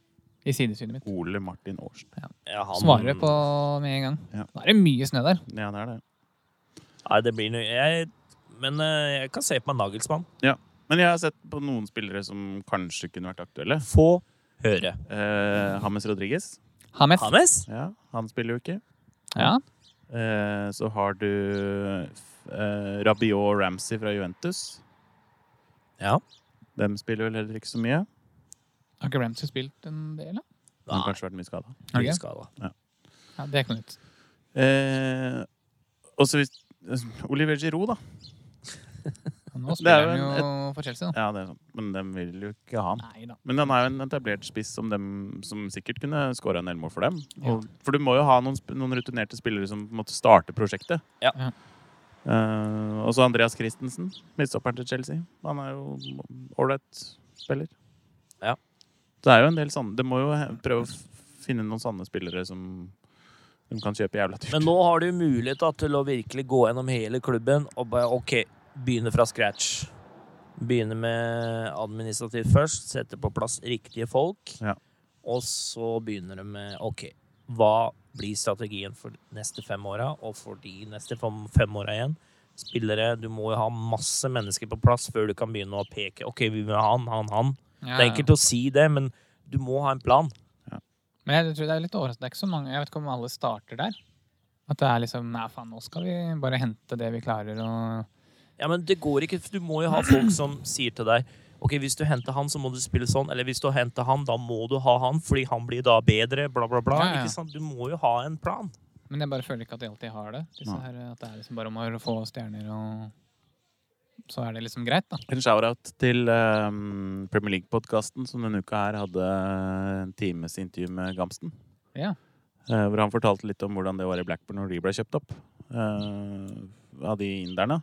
I sidesynet mitt.
Ole Martin Aarsen.
Ja, han-
Svarer på med en gang.
Ja.
Nå er det mye snø der.
Ja, det er det.
Nei, det blir noe jeg, Men eh, jeg kan se på meg Nagelsmann.
Men jeg har sett på noen spillere som kanskje kunne vært aktuelle.
Få høre.
Eh, James Rodriguez.
Hames.
Hames?
Ja, han spiller jo ikke.
Ja.
Eh, så har du eh, Rabiot og Ramsey fra Juventus.
Ja.
Dem spiller vel heller ikke så mye.
Har ikke Ramsey spilt en del, da?
De har kanskje vært mye skada.
Har de
mye
det?
skada.
Ja, det er ikke noe nytt.
Eh, og så hvis Oliver Giroud, da.
Og Nå
Det er
spiller han
jo en-
jo for Chelsea, da.
Ja, det er sant. Men dem vil jo ikke ha han.
Nei da.
Men han er jo en etablert spiss som, dem, som sikkert kunne skåra en del mål for dem. Og, for du må jo ha noen, sp- noen rutinerte spillere som måtte starte prosjektet.
Ja.
Ja.
Eh, og så Andreas Christensen, midtstopperen til Chelsea. Han er jo ålreit spiller.
Ja.
Det er jo en del sånne Det må jo he- prøve å f- finne noen sanne spillere som de kan kjøpe jævla dyrt.
Men nå har du mulighet da, til å virkelig gå gjennom hele klubben og bare OK, begynne fra scratch. Begynne med administrativt først, sette på plass riktige folk.
Ja.
Og så begynner du med OK, hva blir strategien for de neste fem åra, og for de neste fem, fem åra igjen? Spillere, du må jo ha masse mennesker på plass før du kan begynne å peke. OK, vi vil ha han, han, han.
Ja,
Det er enkelt å si det, men du må ha en plan.
Men jeg tror det er litt overraskende. Det er ikke så mange Jeg vet ikke om alle starter der. At det er liksom Nei, faen, nå skal vi bare hente det vi klarer, og
Ja, men det går ikke, for du må jo ha folk som sier til deg Ok, hvis du henter han, så må du spille sånn. Eller hvis du henter han, da må du ha han, fordi han blir da bedre, bla, bla, bla.
Ja, ja.
Ikke sant? Du må jo ha en plan.
Men jeg bare føler ikke at de alltid har det. Disse
Nei.
her, at det er liksom bare om å få stjerner, og så er det liksom greit, da.
En shout-out til eh, Premier League-podkasten som denne uka her hadde en times intervju med Gamsten.
Ja.
Eh, hvor han fortalte litt om hvordan det var i Blackburn når de ble kjøpt opp eh, av de inderne.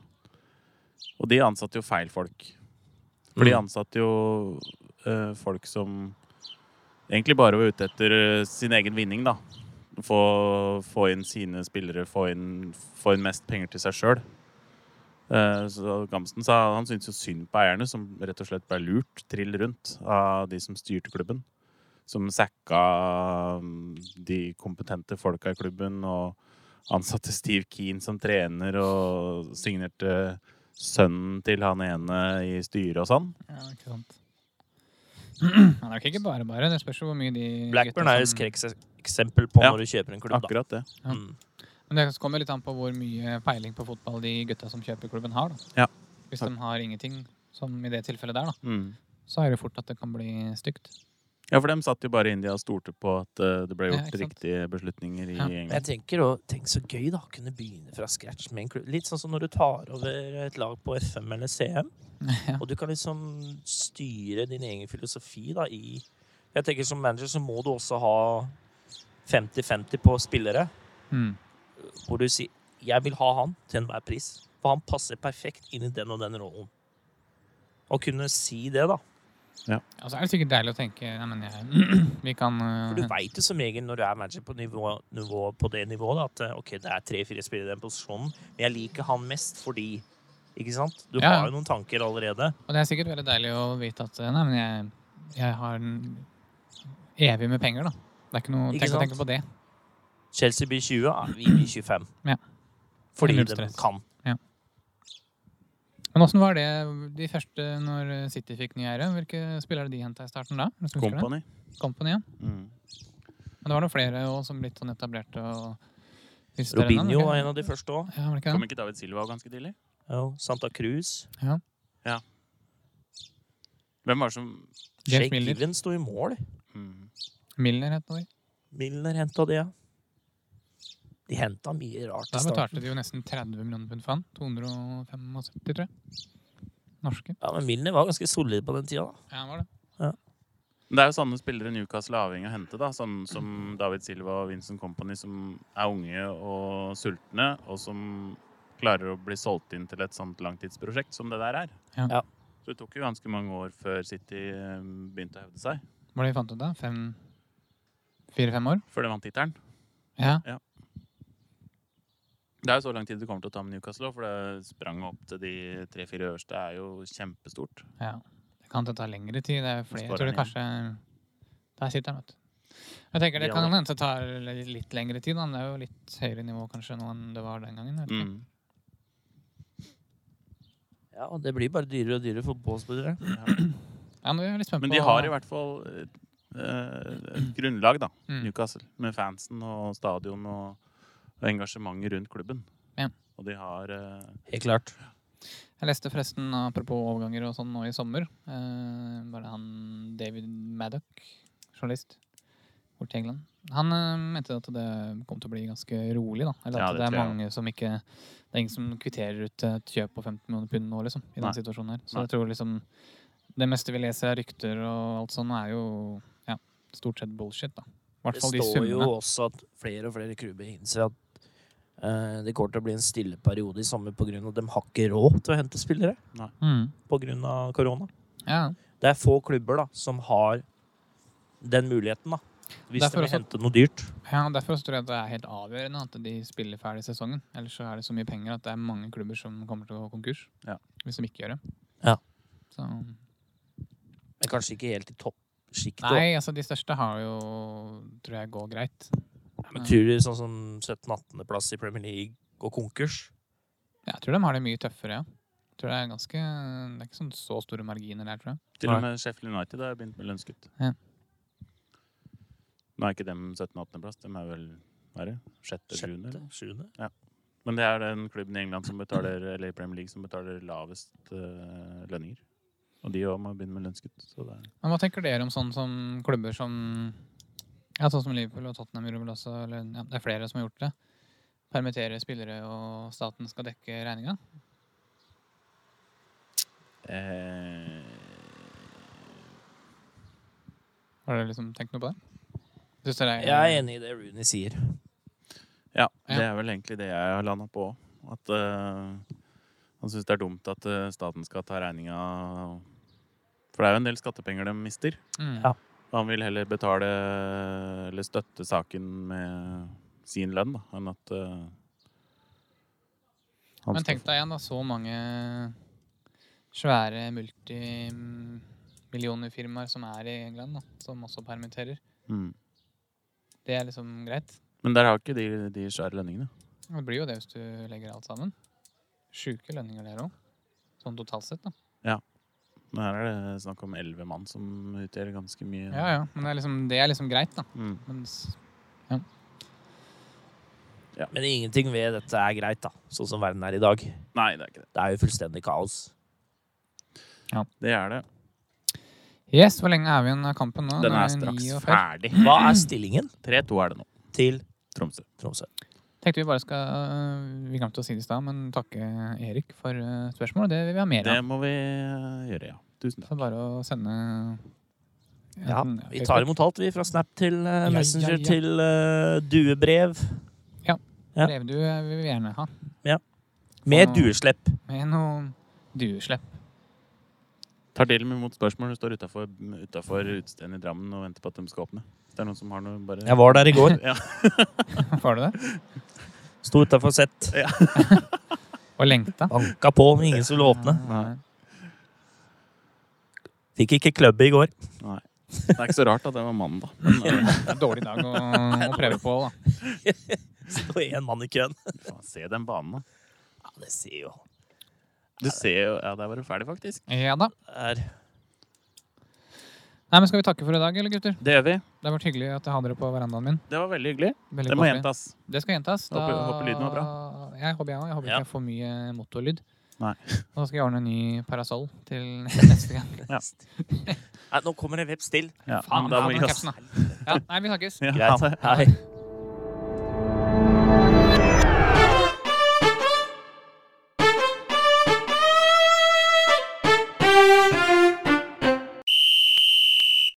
Og de ansatte jo feil folk. For de
Mm.
ansatte jo eh, folk som egentlig bare var ute etter eh, sin egen vinning, da. Få, få inn sine spillere, få inn, få inn mest penger til seg sjøl. Så Gamsten sa han syntes jo synd på eierne, som rett og slett ble lurt trill rundt av de som styrte klubben som sacka mm, de kompetente folka i klubben, og ansatte Steve Keane som trener, og signerte sønnen til han ene i styret og sånn.
Ja, ikke sant. Han er jo ikke bare bare. Det spørs jo hvor mye de
Mm. Blackburn
gutta
er et
som-
skrekkeksempel på
Ja.
når du kjøper en klubb, da.
Akkurat det.
Ja.
Mm.
Men det kommer litt an på hvor mye peiling på fotball de gutta som kjøper klubben har. Da.
Ja.
Hvis de har ingenting, som i det tilfellet der, da,
Mm.
så er det fort at det kan bli stygt.
Ja, for dem satt jo bare i India og stolte på at eh, det ble
Ja,
gjort
ikke sant.
riktige beslutninger i
Ja.
Men jeg
England.
tenker også, tenk så gøy da, å kunne begynne fra scratch med en klubb. Litt sånn som når du tar over et lag på FM eller CM,
Ja.
og du kan liksom styre din egen filosofi da i Jeg tenker Som manager så må du også ha 50-50 på spillere.
Mm.
Hvor du sier 'jeg vil ha han til enhver pris'. For han passer perfekt inn i den og den rollen. Å kunne si det, da.
Og så er det sikkert deilig å tenke Nei, men jeg, vi kan
For du veit jo som regel når du er manager på, nivå, nivå, på det nivået, da, at eh, ok, det er tre-fire spillere i den posisjonen, men jeg liker han mest fordi Ikke sant? Du
Ja.
har jo noen tanker allerede.
Og det er sikkert veldig deilig å vite at eh, Nei, men jeg, jeg har en evig med penger, da. Det er ikke noe
Ikke
Tenk å
sant?
tenke på det.
Chelsea blir 20, ja, vi blir 25.
Ja.
Fordi
Null
de
stress.
kan.
Men åssen var det de første når City fikk ny eier? Hvilke spillere de henta i starten da? Husker du det?
Company.
Company, ja.
Mm.
Men det var noen flere også, som litt sånn etablerte og siste
Robinho
var
var
det
en av de første òg.
ikke- Ja, var det ikke
Kom
det?
ikke David Silva ganske tidlig?
Santa Cruz.
Hvem var det som
James
Jake
Miller.
Given sto i mål.
mm.
Milner het noe.
Milner henta det, ja. De henta mye rart. i
Der
starten.
betalte de jo nesten 30 millioner pund for han. 275, tror jeg. Norske.
Ja, men Milner var ganske solid på den tida, da.
Ja, han var det.
Men Det er jo sånne spillere Newcastle er avhengig av å hente. da, Sånn som David Silva og Vincent Company, som er unge og sultne, og som klarer å bli solgt inn til et sånt langtidsprosjekt som det der er.
Ja.
Ja.
Så det tok jo ganske mange år før City eh, begynte å hevde seg,
Hva var det vi fant ut da? Fem Fire-fem år?
før de vant tittelen.
Ja.
Det er jo så lang tid det kommer til å ta med Newcastle, for det spranget opp til de tre-fire øverste er jo kjempestort.
ja. Det kan ta lengre tid. Det er jo flere. Jeg tror
Skårer
det kanskje Der sitter han, vet du. Jeg tenker Det
Ja, da.
kan hende det tar litt litt lengre tid. Da. men Det er jo litt høyere nivå kanskje nå enn det var den gangen. vet du.
Mm.
Ja, og det blir bare dyrere og dyrere fotballspillere.
Ja, men vi er litt spent
Mm. Men
på
de har i hvert fall eh, et grunnlag, da,
Mm.
Newcastle. Med fansen og stadion og, og engasjementet rundt klubben.
Ja.
Og de har eh,
Helt klart.
Jeg leste forresten, apropos overganger og sånn, nå i sommer eh, Bare han David Maddock, journalist borte i England. Han eh, mente at det kom til å bli ganske rolig, da. Eller at
Ja, det
det, er
tror jeg
mange som ikke Det er ingen som kvitterer ut et kjøp på 15 millioner pund nå, liksom. I
Nei.
den situasjonen her. Så
Nei.
jeg tror liksom Det meste vi leser av rykter og alt sånt, er jo ja, stort sett bullshit, da. I hvert
Det
fall de
står jo
summene.
også at flere og flere klubber innser at eh, det kommer til å bli en stille periode i sommer pga. at de har ikke råd til å hente spillere
Mm.
pga. korona.
Ja.
Det er få klubber da, som har den muligheten, da. Hvis
Derfor
de vil
også-
hente noe dyrt.
Ja, og Derfor så tror jeg det er helt avgjørende at de spiller ferdig sesongen. Ellers så er det så mye penger at det er mange klubber som kommer til å gå konkurs.
Ja.
Hvis de ikke gjør det.
Ja.
Så,
Men kanskje ikke helt i toppsjiktet.
nei, altså de største har jo tror jeg går greit.
Men tror du sånn som 17-18.-plass i Premier League går konkurs?
Jeg tror de har det mye tøffere, ja. Jeg Tror det er ganske Det er ikke sånn så store marginer der, tror jeg.
til og med Sheffield United har begynt med lønnskutt.
Ja.
Nå er ikke dem 17.-18.-plass, de er vel hva er det? sjette sjuende,
Sjette?
eller?
Sjuende?
Men det er den klubben i England som betaler, eller i Premier League som betaler lavest eh, lønninger. Og de òg må begynne med lønnskutt. Så det er
Men hva tenker dere om sånn som klubber som Ja, sånn som Liverpool og Tottenham gjorde vel også, eller ja, det er flere som har gjort det. Permittere spillere, og staten skal dekke regninga.
Eh,
Har dere liksom tenkt noe på det? Synes dere
Jeg er enig i det Rooney sier.
ja,
Ja.
det er vel egentlig det jeg har landa på òg. At eh, han syns det er dumt at eh, staten skal ta regninga. For det er jo en del skattepenger de mister.
Mm.
Ja.
Og han vil heller betale eller støtte saken med sin lønn da, enn at eh, han
Men
skal
tenk deg igjen, da. Så mange svære multimillionerfirmaer som er i England, da, som også permitterer.
få- mm.
Det er liksom greit.
Men der har ikke de, de svære lønningene.
Det blir jo det hvis du legger alt sammen. Sjuke lønninger der òg. Sånn totalt sett, da.
Men her er det snakk om elleve mann som utgjør ganske mye.
Ja ja. Men det er liksom, det er liksom greit, da.
Mm.
Mens
Men ingenting ved dette er greit, da. Sånn som verden er i dag. Det
Nei, det er ikke det.
er jo fullstendig kaos.
Det er det.
Yes, hvor lenge er vi igjen av kampen nå?
Den
Nå
er
det
straks
49.
ferdig.
Hva er stillingen
3-2 er det nå.
til
Tromsø.
Tromsø?
Tenkte vi bare skal øh, Vi glemte å si det i stad, men takke Erik for øh, spørsmål. Det vil vi ha mer av.
Det må vi eh, gjøre, ja. Tusen takk.
Så bare å sende
Ja,
Enten-
vi tar imot alt, vi. Fra Snap til eh, Messenger
ja, ja.
til eh, duebrev. ja.
Brevdue eh, vil vi gjerne ha.
Med
Ah.
dueslepp.
Med noe dueslepp.
Tar til med mot spørsmål. Du står utafor utestedet i Drammen og venter på at de skal åpne. Det er noen som har noe bare
Jeg var der i går.
Var det det?
Sto utafor sett.
Og lengta.
Banka på, men ingen skulle åpne.
Nei.
Fikk ikke klubbe i går.
Nei. Det er ikke så rart at det var mannen, da. Men, eh,
Det er en dårlig dag å, å prøve på, da.
Sto én mann i køen.
faen, se den banen, da.
Ja, det ser jo
Du ser jo Ja, der var du ferdig, faktisk.
Ja da.
Der.
Nei, men Skal vi takke for i dag, eller gutter?
Det gjør vi.
Det har vært hyggelig at jeg har dere på verandaen min.
Det var veldig hyggelig.
Veldig
Det må
koselig.
gjentas.
Det skal gjentas.
Håper- håper lyden var
Jeg håper jeg òg. Jeg håper
Ja.
ikke jeg får mye motorlyd.
Nei.
Og da skal jeg ordne en ny parasoll til neste gang.
Nei, nå kommer det veps til.
Ja,
Faen,
men da må
han
vi
har
kaste-
capsen, da. Ja, nei, vi snakkes.
Ja,
Greit.
ha det.
Hei.